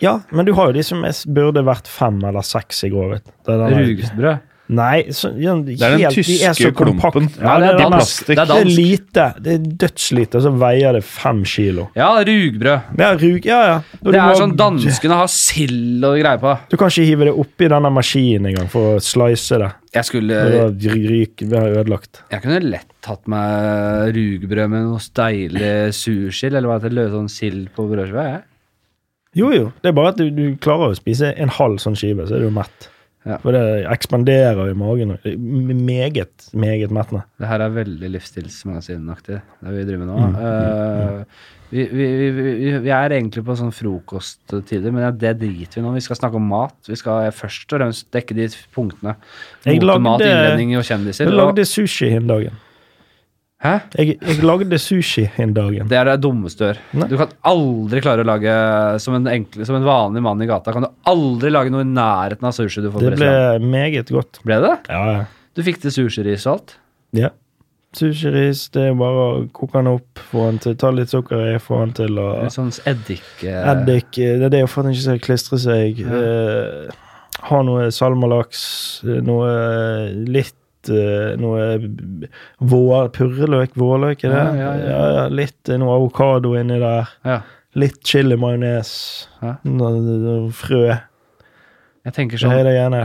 S2: Ja, men du har jo de som er, burde vært fem eller seks i grovhet. Det er den der-
S1: Rugbrød.
S2: Nei, så, ja, helt,
S3: er den
S2: de er så
S3: tyske klumpen.
S2: kompakt.
S1: Ja, det er
S2: det,
S1: dansk.
S2: mest-
S1: Det er
S2: det er
S1: dansk.
S2: lite. Det er dødslite, og så veier det fem kilo.
S1: Ja, rugbrød.
S2: Ja, rug, ja, ja.
S1: Det
S2: Og du
S1: er
S2: må-
S1: sånn danskene har sild og greier på.
S2: Du kan ikke hive det oppi denne maskinen engang for å slice det.
S1: Jeg skulle
S2: Og da ryker det er ødelagt.
S1: Jeg kunne lett tatt meg rugbrød med noe deilig sursild, eller hva heter det, sånn sild på brødskiva. jeg.
S2: Jo, jo. Det er bare at du, du klarer å spise en halv sånn skive, så er du mett.
S1: Ja.
S2: For det ekspanderer i magen. og det er Meget, meget mettende.
S1: Det her er veldig livsstilsmagasinaktig, det vi driver med
S2: Mm,
S1: nå. Eh, vi, vi, vi, vi, vi er egentlig på sånn frokosttider, men ja, det driter vi nå. Vi skal snakke om mat. Vi skal først og fremst dekke de punktene.
S2: Jeg
S1: Mote, mat,
S2: lagde-
S1: innredning og kjendiser.
S2: Jeg
S1: Og,
S2: lagde sushi hin dagen.
S1: hæ?
S2: Jeg, jeg lagde sushi hin dagen.
S1: Det er det dummeste du gjør.
S2: Nei.
S1: Du kan aldri klare å lage Som en, enkle, som en vanlig mann i gata kan du aldri lage noe i nærheten av sushi du får på
S2: Det ble
S1: restaurant.
S2: meget godt.
S1: Ble det?
S2: Ja, ja.
S1: Du fikk til sushiris og alt?
S2: ja. Sushiris, det er bare å koke den opp, få den til, ta litt sukker i, få den til å
S1: Litt sånn eddik eh,
S2: Eddik eh, Det er det for at den ikke skal klistre seg. Eh, ha noe salmalaks, eh, noe litt eh, Noe b- vår, purreløk, vårløk, er det?
S1: Ja, ja, ja.
S2: litt eh, noe avokado inni der.
S1: Ja.
S2: Litt chili-majones.
S1: Ja.
S2: Noe- noe Frø.
S1: Jeg tenker
S2: Det
S1: sånn
S2: er det gjerne.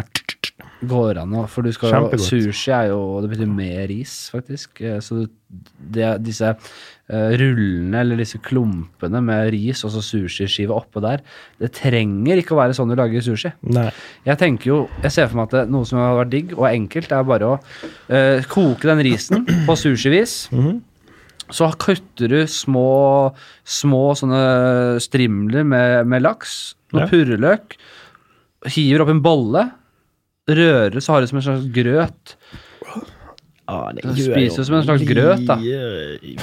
S1: går an å For du skal jo
S2: Kjempegodt.
S1: Sushi er jo Det betyr mer ris, faktisk. Eh, Så det, disse eh, rullene, eller disse klumpene med ris og så sushiskive oppå der, det trenger ikke å være sånn du lager sushi.
S2: Nei.
S1: Jeg tenker jo, jeg ser for meg at det, noe som hadde vært digg og enkelt, er bare å eh, koke den risen på sushivis.
S2: Mhm.
S1: Så kutter du små, små sånne strimler med, med laks, noe
S2: Ja.
S1: purreløk, hiver opp en bolle, rører så har du som en slags grøt.
S2: Ah, det
S1: Du spiser jo som en slags grøt, da.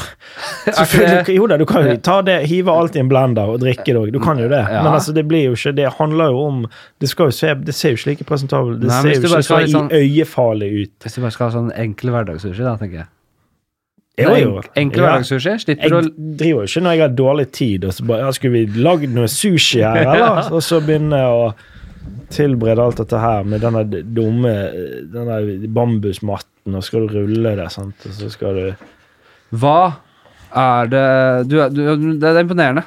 S2: Selvfølgelig. Jo da, du kan jo ta det, hive alt i en blender og drikke det òg. Du kan jo det.
S1: Ja.
S2: Men altså, det blir jo ikke Det handler jo om Det, skal jo se, det ser jo ikke like presentabelt Det
S1: Nei, men hvis
S2: ser
S1: du
S2: jo
S1: bare
S2: ikke
S1: skal
S2: så
S1: ha litt sånn-
S2: i øyefarlig ut.
S1: Hvis du bare skal ha sånn enkel hverdagssushi, da, tenker jeg.
S2: Jo, jo.
S1: Enkle
S2: Ja.
S1: hverdagssushi. Slipper å
S2: Jeg driver jo ikke når jeg har dårlig tid og så bare ja, Skulle vi lagd noe sushi her, eller? Og så begynner jeg å tilberede alt dette her med denne d- dumme denne bambusmatten, og skal du rulle det, sant, og så skal du
S1: Hva er det du, du, Det er imponerende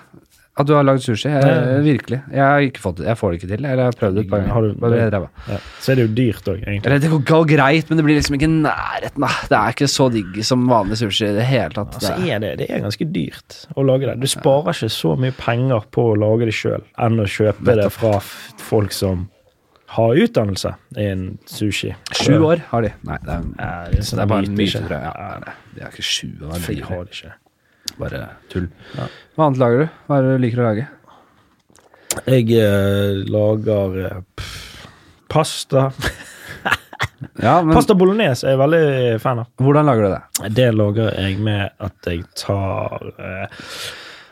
S1: at du har lagd sushi. Jeg,
S2: Ja.
S1: virkelig. Jeg, har ikke fått det. jeg får det ikke til. Eller jeg har prøvd det et par ganger.
S2: Har du-
S1: Bare ble ræva.
S2: ja. Så er det jo dyrt òg, egentlig.
S1: Eller det går går greit, men det blir liksom ikke i nærheten. da. Det er ikke så digg som vanlig sushi i det hele tatt.
S2: Så
S1: Det er-
S2: Altså, er det, det er ganske dyrt å lage det. Du sparer ikke så mye penger på å lage det sjøl enn å kjøpe det fra f- folk som har utdannelse innen sushi.
S1: Sju år har de. Nei, det er,
S2: Ja, det er sånn
S1: det er bare en
S2: lite,
S1: myte,
S2: ikke?
S1: tror jeg. Ja, det er- de er ikke sju år.
S2: Fy,
S1: det er
S2: har det ikke.
S1: Bare tull. Hva annet lager du? Hva er det du liker å lage?
S2: Jeg eh, lager eh, pff, pasta.
S1: Ja, men
S2: Pasta bolognese er jeg veldig fan av.
S1: Hvordan lager du det?
S2: Det lager jeg med at jeg tar eh,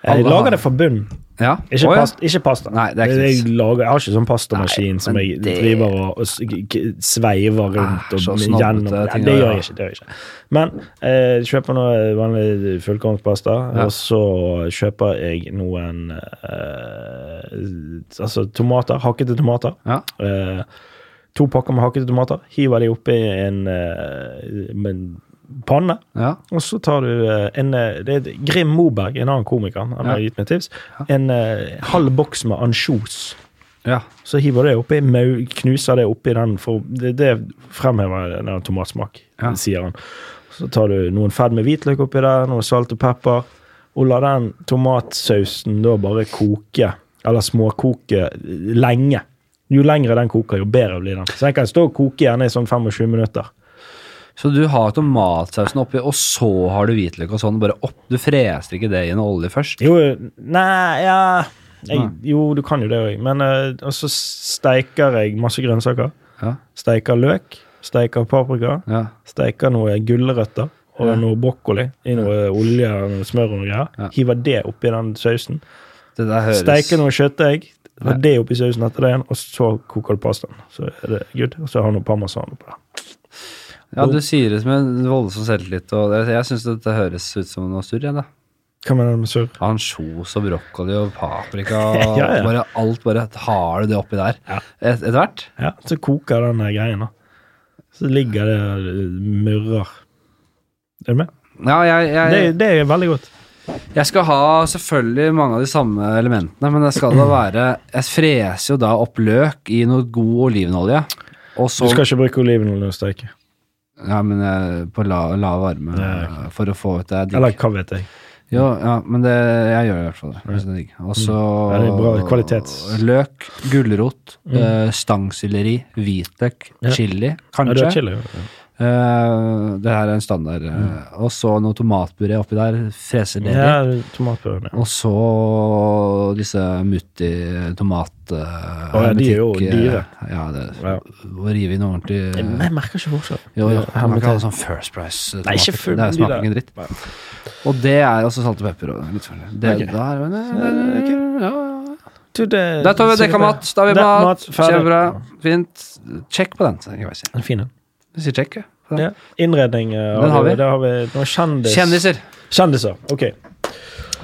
S1: Alle
S2: Jeg
S1: har-
S2: lager det fra bunnen.
S1: Ja.
S2: Ikke,
S1: Å, ja.
S2: pasta, ikke pasta.
S1: Nei, det er ikke
S2: jeg,
S1: sant.
S2: lager, jeg har ikke sånn pastamaskin som
S1: men
S2: jeg
S1: det-
S2: driver og, og s- g- g- sveiver rundt
S1: Ah, så
S2: og
S1: snobbete
S2: gjennom.
S1: ting
S2: Nei,
S1: å
S2: det gjør
S1: gjøre.
S2: jeg ikke. det gjør jeg ikke. Men eh, jeg kjøper noe vanlig fullkornspasta,
S1: Ja.
S2: og så kjøper jeg noen eh, Altså tomater, hakkete tomater.
S1: Ja.
S2: Eh, to pakker med hakkete tomater. Hiver de oppi en, eh, med en panne.
S1: Ja.
S2: Og så tar du eh, en eh, Det er Grim Moberg, en annen komiker, han har
S1: Ja.
S2: gitt meg tips. En eh, halv boks med ansjos.
S1: ja.
S2: Så hiver du det oppi, mau- knuser det oppi den, for det, det fremhever den der tomatsmak,
S1: Ja.
S2: sier han. Så tar du noen fedd med hvitløk oppi der, noe salt og pepper, og lar den tomatsausen da bare koke, eller småkoke, eh, lenge. Jo lengre den koker, jo bedre blir den. Så den kan stå og koke gjerne i sånn 25 minutter.
S1: Så du har tomatsausen oppi, og så har du hvitløk og sånn. bare opp. Du freser ikke det i en olje først?
S2: Jo, nei, ja jeg, Jo, du kan jo det òg, men eh, Og så steiker jeg masse grønnsaker.
S1: Ja.
S2: Steiker løk, steiker paprika,
S1: Ja.
S2: steiker noe gulrøtter og
S1: Ja.
S2: noe brokkoli i noe olje og noe smør og noe greier.
S1: Ja.
S2: Hiver det oppi den sausen.
S1: Det der høres
S2: Steiker noe kjøttegg,
S1: Ja.
S2: har det oppi sausen etter det igjen, og så koker du pastaen. Så er det good. Og så har du noe parmesan oppå der.
S1: Ja, du sier det som en voldsom selvtillit, og jeg, jeg syns dette høres ut som noe surr, jeg, da.
S2: Hva mener du med surr?
S1: Ansjos og brokkoli og paprika og
S2: Ja, ja.
S1: bare alt. Bare har du det oppi der
S2: Ja.
S1: Et- etter hvert?
S2: Ja, så koker den der greien, da. Så ligger det eh, murrer. Er du med?
S1: Ja, jeg, jeg,
S2: Det, det er veldig godt.
S1: jeg skal ha selvfølgelig mange av de samme elementene, men det skal da være Jeg freser jo da opp løk i noe god olivenolje, og
S2: Du
S1: så
S2: skal ikke bruke olivenolje og steike.
S1: Ja, men eh, på la- lav varme
S2: Ja,
S1: eh, for å få ut det digg.
S2: Eller hva vet jeg.
S1: Jo, ja, men det, jeg gjør i hvert fall det. Jeg synes det er digg. Og så
S2: Mm. Ja, det er bra kvalitets-
S1: Løk, gulrot, eh, stangselleri, hvitløk,
S2: Ja.
S1: chili,
S2: Ja, du
S1: kanskje.
S2: har chili. jo.
S1: Eh, det her er en standard. eh, Og så noe tomatpuré oppi der, freser ned i.
S2: Mm. Ja, tomatpuré. Ja.
S1: Og så disse mutti-tomat...
S2: Å ja, de er jo dyre.
S1: eh, Ja, det,
S2: Ja.
S1: å rive inn ordentlig eh,
S2: Men jeg merker ikke forskjell.
S1: jo, jo.
S2: Ja,
S1: Man
S2: men
S1: kan ha
S2: det-
S1: sånn First Price. eh,
S2: Nei, ikke
S1: tomater.
S2: full-
S1: Det er- smaker
S2: de
S1: ingen dritt. Og det er også salt og pepper. Og litt forskjellig. det,
S2: Ok.
S1: da er det, det, det, ja, ja.
S2: Du, det-
S1: Der tar vi
S2: sier
S1: dekka
S2: det.
S1: mat. Da har vi
S2: Det-
S1: mat.
S2: mat, ferdig.
S1: Kjempebra. Fint. Sjekk på den. tenker Jeg, å si.
S2: En fin en.
S1: jeg sier sjekk. jeg, på den.
S2: Ja. Innredning eh,
S1: Den har vi.
S2: Det har vi. Noen kjendis...
S1: Kjendiser.
S2: Kjendiser. Ok.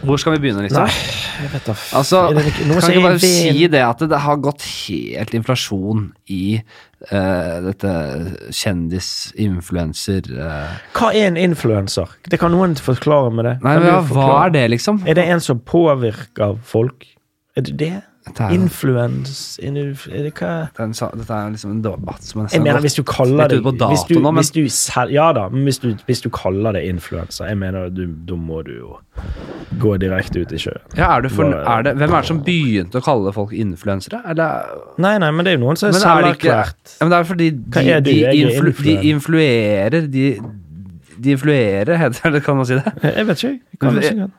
S1: Hvor skal vi begynne, liksom?
S2: Nei, jeg vet da f-
S1: Altså,
S2: Er det ikke-
S1: kan
S2: noe som
S1: ikke
S2: er
S1: bare
S2: vin?
S1: si det at det har gått helt inflasjon i eh, dette kjendis-influenser eh.
S2: Hva er en influenser? Det kan noen forklare med det.
S1: Nei, men
S2: Kan du
S1: ja, hva
S2: forklare?
S1: er det, liksom?
S2: Er det en som påvirker folk? Er det det?
S1: Dette er, jo-
S2: Influens... inf- Er det hva?
S1: det er en sa- dette er liksom en debatt som er
S2: Jeg
S1: nesten
S2: mener
S1: gått
S2: hvis du kaller
S1: litt
S2: det
S1: ut på dato
S2: hvis du,
S1: nå, men-
S2: hvis du, sel- Ja da, men hvis du, hvis du kaller det influensa, jeg mener du, da må du jo gå direkte ut i sjøen.
S1: ja, er du for,
S2: Hva-
S1: er det, Hvem er det som begynte å kalle folk influensere? Eller
S2: Nei, nei, men det er jo noen som er
S1: Men er det ikke ja,
S2: selverklært.
S1: men Det er fordi de,
S2: Hva er du?
S1: de,
S2: Jeg er
S1: influ, de
S2: influencer.
S1: influerer De, de influerer, heter det, kan man si det?
S2: Jeg vet ikke, jeg. Kan
S1: Men
S2: det
S1: det-
S2: sikkert.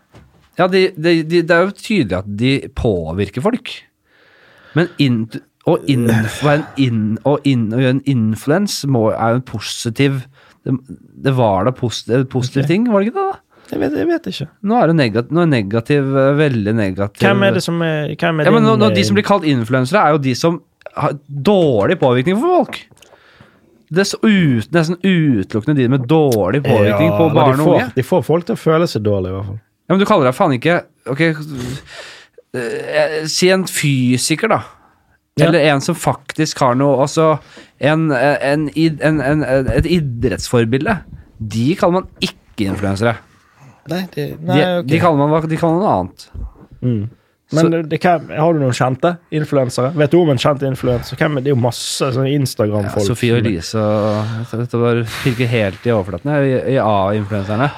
S1: Ja, de, de, de, det er jo tydelig at de påvirker folk. Men in, å, in,
S2: Øh.
S1: være en in, å, in, å gjøre en influens må- er jo en positiv det, det var da positiv, positiv ting, var det ikke det? da?
S2: Jeg vet, jeg vet ikke.
S1: Nå er det negativ, nå er negativ eh, veldig negativ
S2: Hvem er det som er, hvem er
S1: ja, men nå, nå,
S2: eh,
S1: De som blir kalt influensere, er jo de som har dårlig påvirkning for folk. det er så ut, nesten utelukkende de med dårlig påvirkning
S2: Ja,
S1: på
S2: men
S1: barn
S2: de,
S1: og unge.
S2: får, de får folk til å føle seg dårlig, i hvert fall.
S1: Ja, men du kaller deg faen ikke Ok, eh, si en fysiker, da.
S2: Ja.
S1: Eller en som faktisk har noe Altså en, en, id- en, en, et idrettsforbilde. De kaller man ikke influensere.
S2: Nei, de,
S1: De, de, kaller man, hva- de kaller man noe annet.
S2: Mm. Men det, det, hvem- har du noen kjente influensere? Vet du om en kjent influenser? Hvem er- Det er jo masse sånne
S1: Ja,
S2: Instagram-folk.
S1: Sofie
S2: som-
S1: Elise og Dette bare pirker helt i overflaten. jeg, i- i A-influenserne.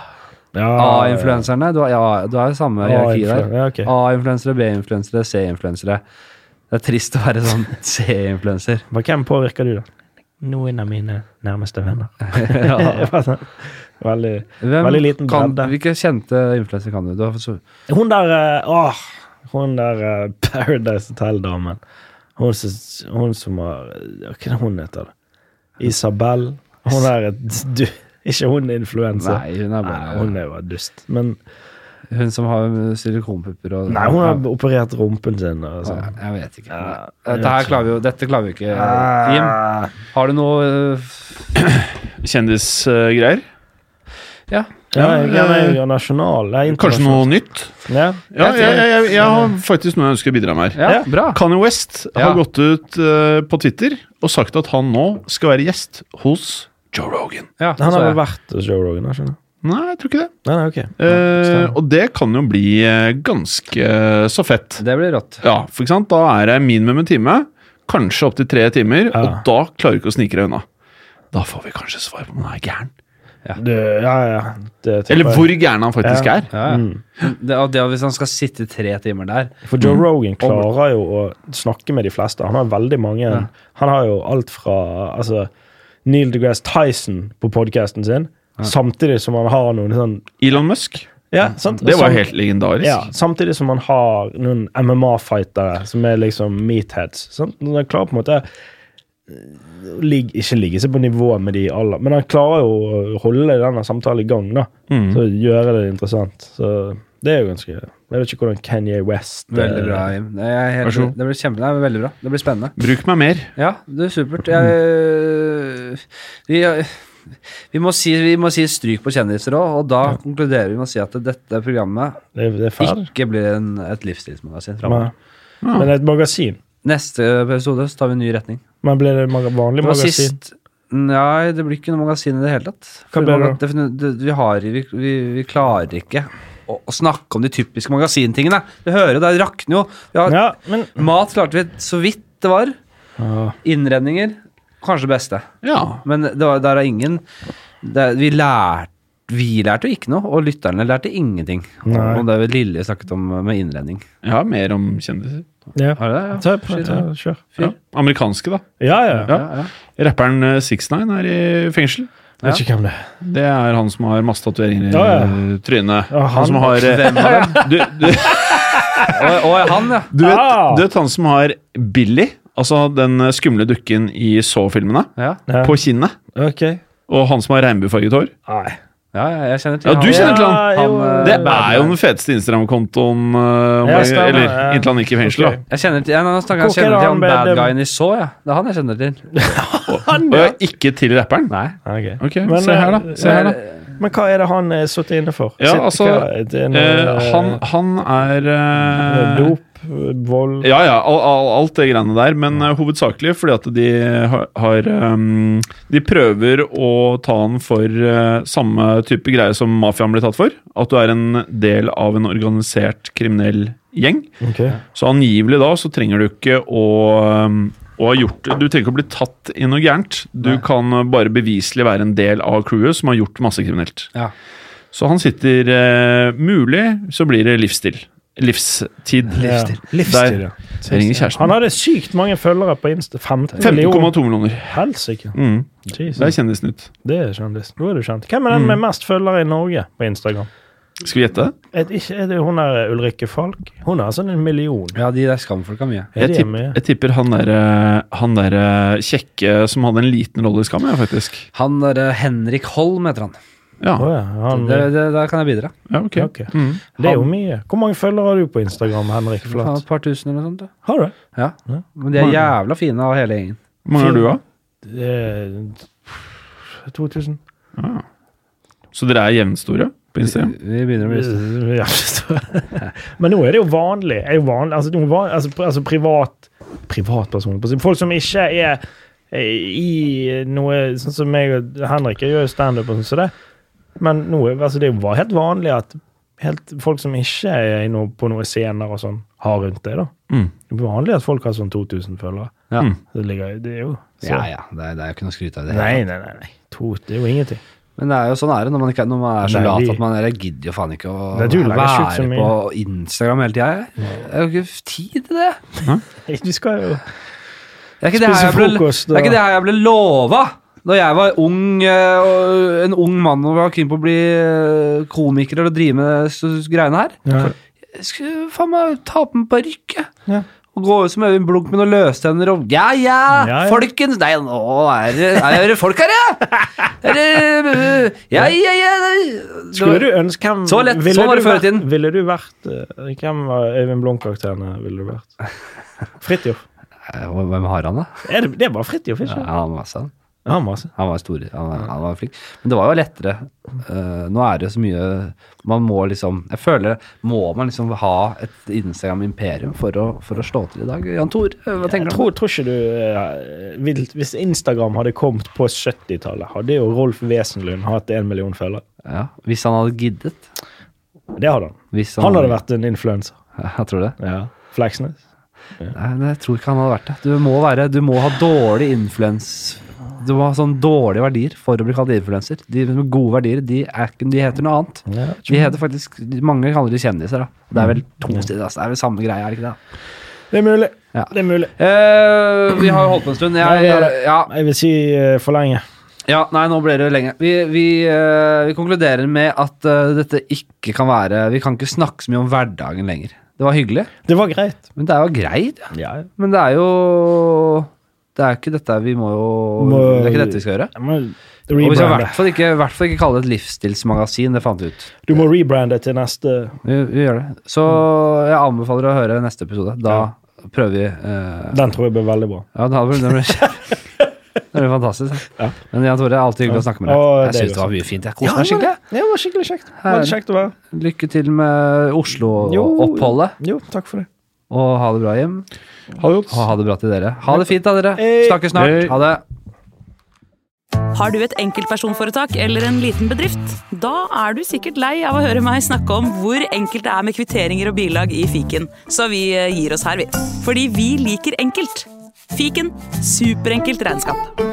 S2: Ja,
S1: A-influenserne. Du har ja, du har jo samme hierarki
S2: A-influensere,
S1: der.
S2: ja, ok.
S1: A-influensere, B-influensere, C-influensere. Det er trist å være sånn C-influenser.
S2: Men hvem påvirker du, da? Noen av mine nærmeste venner.
S1: ja.
S2: veldig,
S1: Hvem
S2: veldig liten
S1: kan,
S2: bredde.
S1: Hvilke kjente influenser kan du? du har, så,
S2: Hun der eh, Åh, hun der eh, Paradise Hotel-damen. Hun, som- hun som har Hva er det hun heter? da? Isabel. Hun er et du, Ikke hun influenser.
S1: nei, hun er bare
S2: Nei,
S1: hun,
S2: hun er jo et dust. Men
S1: som har silikonpupper og
S2: nei, hun har operert rumpen sin. Og
S1: ja,
S2: sånn.
S1: Jeg vet ikke.
S2: Ja, jeg
S1: dette,
S2: vet
S1: her
S2: ikke.
S1: klarer vi jo, dette klarer vi ikke.
S2: Ah.
S1: Jim, har du noe øh, f-
S3: Kjendisgreier.
S1: Ja.
S2: Ja, jeg han er jo nasjonal. Nei,
S3: Kanskje noe nytt?
S2: internasjonal. Ja.
S3: Ja, jeg, jeg, jeg, jeg har faktisk noe jeg ønsker å bidra med her.
S1: ja,
S2: Ja.
S1: bra.
S3: Kanye West
S1: Ja.
S3: har gått ut eh, på Twitter og sagt at han nå skal være gjest hos Joe Rogan.
S1: Ja, så
S2: Han har
S1: jeg-
S2: vel vært hos Joe Rogan, har han ikke det?
S3: Nei, jeg tror ikke det.
S2: Nei, nei, ok.
S3: Eh,
S2: stemmer.
S3: og det kan jo bli eh, ganske eh, så fett.
S1: Det blir rått.
S3: Ja, for ikke sant? Da er det minimum en time, kanskje opptil tre timer,
S2: Ja.
S3: og da klarer du ikke å snike deg unna. Da får vi kanskje svar på om han er gæren.
S2: Du, ja, ja. Det tipper
S3: Eller
S2: jeg.
S3: hvor gæren han faktisk
S2: Ja.
S3: er.
S1: Ja, ja. Det, og det, og hvis han skal sitte tre timer der
S2: For Joe
S3: Mhm.
S2: Rogan klarer jo å snakke med de fleste. Han har veldig mange Han har jo alt fra altså, Neil deGrasse Tyson på podkasten sin, samtidig som han har noen sånn
S3: Elon Musk,
S2: ja, sant?
S3: det var
S2: Sam-
S3: helt legendarisk.
S2: ja, Samtidig som han har noen MMA-fightere som er liksom meatheads. Sant? Men Han klarer på en måte å ligge, ikke ligge seg på nivå med de aller, men han klarer jo å holde denne samtalen i gang. da
S1: Mm.
S2: Så gjøre det interessant. Så det er jo ganske Jeg vet ikke hvordan Kanye West eh,
S1: Veldig bra, Jim. Det, er helt,
S3: Vær så god.
S1: det blir kjempe, nei, veldig bra. Det blir spennende.
S3: Bruk meg mer.
S1: Ja, det er supert. Jeg, vi, øh, vi, må si, vi må si stryk på kjendiser òg, og da konkluderer vi med å si at dette programmet
S2: Det, det er ferdig.
S1: ikke blir en, et livsstilsmagasin
S2: Men,
S1: framover.
S2: men det er et magasin.
S1: Neste episode så tar vi en ny retning.
S2: Men blir det maga vanlig
S1: Det var
S2: magasin?
S1: sist Nei, det blir ikke noe magasin i det hele tatt. For
S2: ble det
S1: maga- det- Vi, har, vi, vi, vi klarer ikke å, å snakke om de typiske magasintingene. Du hører jo, det rakner jo. Vi har,
S2: Ja, men
S1: Mat klarte vi så vidt det var. Ah. Innredninger kanskje det beste.
S3: Ja.
S1: Men det var, der er ingen det, vi, lærte, vi lærte jo ikke noe, og lytterne lærte ingenting.
S2: Nei.
S1: Om det er vel Lilje snakket om med innredning.
S3: Jeg har mer om kjendiser.
S2: ja.
S1: Har du det? Ja.
S2: Ta, ta, ta, Kjør.
S3: Ja. Amerikanske, da.
S2: Ja, ja.
S3: Ja.
S1: Ja, ja.
S3: Rapperen 69 er i fengsel.
S2: Jeg vet ikke hvem det er.
S3: Det er han som har masse tatoveringer i
S2: Ja, ja.
S3: eh, trynet.
S2: Ja,
S3: han.
S2: han.
S3: som har eh,
S1: Hvem av dem?
S3: du, du,
S1: Og, og han, ja.
S3: du, vet,
S2: Ah.
S3: du vet han som har Billy, altså den eh, skumle dukken i Saw-filmene,
S1: Ja,
S2: Ja.
S3: på kinnet?
S2: Ok.
S3: Og han som har regnbuefarget hår?
S2: Nei.
S1: ja, ja jeg kjenner til
S3: Ja, du
S1: han.
S3: kjenner til han!
S2: Ja, jo,
S1: Han,
S3: Det
S1: eh,
S3: er jo den feteste Instagram-kontoen eh, om
S2: Ja,
S3: dagen,
S2: stemmer,
S3: Eller
S2: ja.
S3: inntil han gikk i fengsel,
S2: Ok.
S3: da.
S1: Jeg kjenner til, ja, nå snakker, jeg
S2: Hvorfor er
S1: kjenner til
S2: han
S1: han
S2: med
S1: bad
S2: dem?
S1: guyen i så, ja. Det er han jeg kjenner til.
S3: Og jeg er ikke til rapperen.
S1: Nei.
S2: Ah, Ok.
S3: Ok,
S2: Men,
S3: se her,
S2: eh,
S3: da. Se her, da.
S2: Men hva er det han er sittet inne for?
S3: Ja,
S2: Sitt-
S3: altså,
S2: hva- det er noe,
S3: Eh, han, han er
S2: eh,
S3: eh,
S2: Dop, vold
S3: Ja, ja, all, all, alt det greiene der, men eh, hovedsakelig fordi at de har, har ehm, De prøver å ta han for eh, samme type greie som mafiaen ble tatt for. At du er en del av en organisert kriminell gjeng.
S2: Ok.
S3: Så angivelig da så trenger du ikke å, ehm, å ha gjort Du trenger ikke å bli tatt i noe gærent. Du kan eh, bare beviselig være en del av crewet som har gjort masse kriminelt.
S1: Ja.
S3: Så han sitter eh, Mulig så blir det livsstil. Livstid.
S2: Livsstil.
S3: Der. Jeg ringer kjæresten.
S2: Han hadde sykt mange følgere på Insta. 15 millioner.
S3: 15,2 millioner.
S2: Helsike.
S3: Mm. Det er
S2: Jesus.
S3: kjendisnytt.
S2: Det er kjendis. Nå er du kjent. Hvem er den med
S3: Mm.
S2: mest følgere i Norge på Instagram?
S3: Skal vi gjette?
S2: Er det, ikke- er det hun der eh, Ulrikke Falk? Hun har sånn en million.
S1: ja, de der skamfolka mye.
S2: Er
S3: Jeg,
S2: det
S3: tipp,
S2: mye?
S3: jeg tipper han derre han der eh, kjekke som hadde en liten rolle i Skam, jeg, faktisk.
S1: Han derre Henrik Holm heter han.
S3: Ja,
S2: Å ja, han,
S1: Det, det, der kan jeg bidra.
S3: ja ok.
S2: ok.
S3: Mm.
S2: Det er jo mye. Hvor mange følgere har du på Instagram, Henrik
S1: Faen,
S2: Flat?
S1: Et par tusen eller noe sånt. da.
S2: Har du det?
S1: Ja.
S2: Ja.
S1: Men de er jævla fine av hele gjengen.
S3: Hvor mange har du, da?
S2: det? er- 2000.
S3: Ah. Så dere er jevnstore på Instagram?
S1: Vi begynner å bli store.
S2: Ja, forstår. Men nå er det jo vanlig. Er jo vanlig altså, nå van- altså, pri- altså privat Privatpersoner på sin- Folk som ikke er eh, i noe Sånn som meg og Henrik jeg gjør jo standup og sånn som det. Men nå, er- altså, det er jo va- helt vanlig at helt, folk som ikke er i noe, på noen scener og sånn, har rundt det. da.
S3: Mm.
S2: Det er vanlig at folk har sånn 2000 følgere.
S1: Ja.
S3: Mm.
S2: Det, ligger, det er jo så.
S1: ja, ja. Det er, det er jo ikke noe å skryte av. i det hele
S2: Nei,
S1: tatt.
S2: nei, nei. nei. To, det er jo ingenting.
S1: Men det er jo sånn er det når man, ikke, når man er så
S2: Nei,
S1: lat
S2: vi-
S1: at man jeg gidder jo faen ikke å
S2: Nei, du legger skjult så
S1: være
S2: mye.
S1: på Instagram hele tida. Jeg har jo ikke tid til det.
S2: Du skal jo
S1: Det er ikke det her jeg
S2: Spise
S1: ble,
S2: frokost,
S1: det er ikke
S2: og-
S1: det her jeg ble lova da jeg var ung, eh, og en ung mann og var keen på å bli eh, komiker og drive med s- s- greiene her.
S2: ja.
S1: Jeg skulle faen meg ta på meg parykk jeg.
S2: Ja.
S1: og gå ut som Øyvind Blunk med noen løstenner og ja, ja,
S2: Ja, ja.
S1: folkens Nei, nå er det, er det folk her, ja! Er det, ja, ja, ja det-
S2: Skulle du ønske hvem
S1: Så lett-
S2: ville
S1: sånn var
S2: du
S1: det før i
S2: vært-
S1: tiden.
S2: Ville du vært eh, Hvem var Øyvind Blom-karakterene ville du vært? Fridtjof.
S1: Eh, Hvem har han, da?
S2: Er det, det er bare Fridtjof,
S1: Ja,
S2: ikke
S1: han, var sånn.
S2: Ja, masse.
S1: han var stor. Han var, han var flink. Men det var jo lettere. Eh, nå er det jo så mye Man må liksom Jeg føler Må man liksom ha et Instagram-imperium for, å- for å slå til i dag? Jan Tor, eh, hva
S2: Jeg
S1: tenker du? om
S2: tror, tror ikke du eh, vil, Hvis Instagram hadde kommet på 70-tallet, hadde jo Rolf Wesenlund hatt en million følgere.
S1: det? Ja, hvis han hadde giddet.
S2: Det hadde han.
S1: Hvis
S2: Han hadde vært en influenser.
S1: Jeg tror det.
S2: Ja. Fleksnes.
S1: Nei, men jeg tror ikke han hadde vært det. Du må, være, du må ha dårlig influens. Du må ha sånn dårlige verdier for å bli kalt influenser. De med gode verdier, de, er, ikke- de heter noe annet.
S2: Ja,
S1: De heter faktisk, Mange kaller de kjendiser. da. Det er vel to steder, altså. det er vel samme greie, er det ikke det?
S2: Det er mulig.
S1: Ja.
S2: Det er mulig.
S1: Eh, vi har jo holdt på en stund.
S2: Nei,
S1: Jeg,
S2: vi har det.
S1: ja,
S2: Jeg vil si eh, for lenge.
S1: ja, nei, nå ble det lenge. Vi, vi, eh, vi konkluderer med at eh, dette ikke kan være Vi kan ikke snakke så mye om hverdagen lenger. Det var hyggelig,
S2: Det var greit.
S1: men det er jo greit. ja.
S2: Ja, ja.
S1: Men det er jo Det er ikke dette vi må jo
S2: Må-
S1: Det er ikke dette vi skal gjøre.
S2: Jeg må
S1: Og vi skal i
S2: rebrande.
S1: hvert fall ikke, i hvert fall ikke kalle det et livsstilsmagasin. Det fant vi ut.
S2: Du må rebrande til neste
S1: Vi, vi gjør det. Så jeg anbefaler å høre neste episode. Da prøver vi eh,
S2: Den tror jeg blir veldig bra.
S1: Ja, det hadde vel det ble Det ble fantastisk.
S2: Ja.
S1: Men Jan Tore, det er alltid hyggelig å snakke med deg.
S2: Å,
S1: Jeg
S2: det er
S1: syns det var mye fint. Jeg koste meg skikkelig.
S2: Det var skikkelig kjekt.
S1: Herlig.
S2: Veldig kjekt å være.
S1: Lykke til med Oslo-oppholdet,
S2: Jo, takk for det.
S1: og ha det bra hjem.
S3: Ha det godt.
S1: Og ha det bra til dere. Ha det fint, da, dere.
S2: Hei.
S1: Snakkes snart.
S3: Hei.
S1: Ha det.
S4: Har du et enkeltpersonforetak eller en liten bedrift? Da er du sikkert lei av å høre meg snakke om hvor enkelt det er med kvitteringer og bilag i fiken, så vi eh, gir oss her, vi. Fordi vi liker enkelt. Fiken superenkelt regnskap.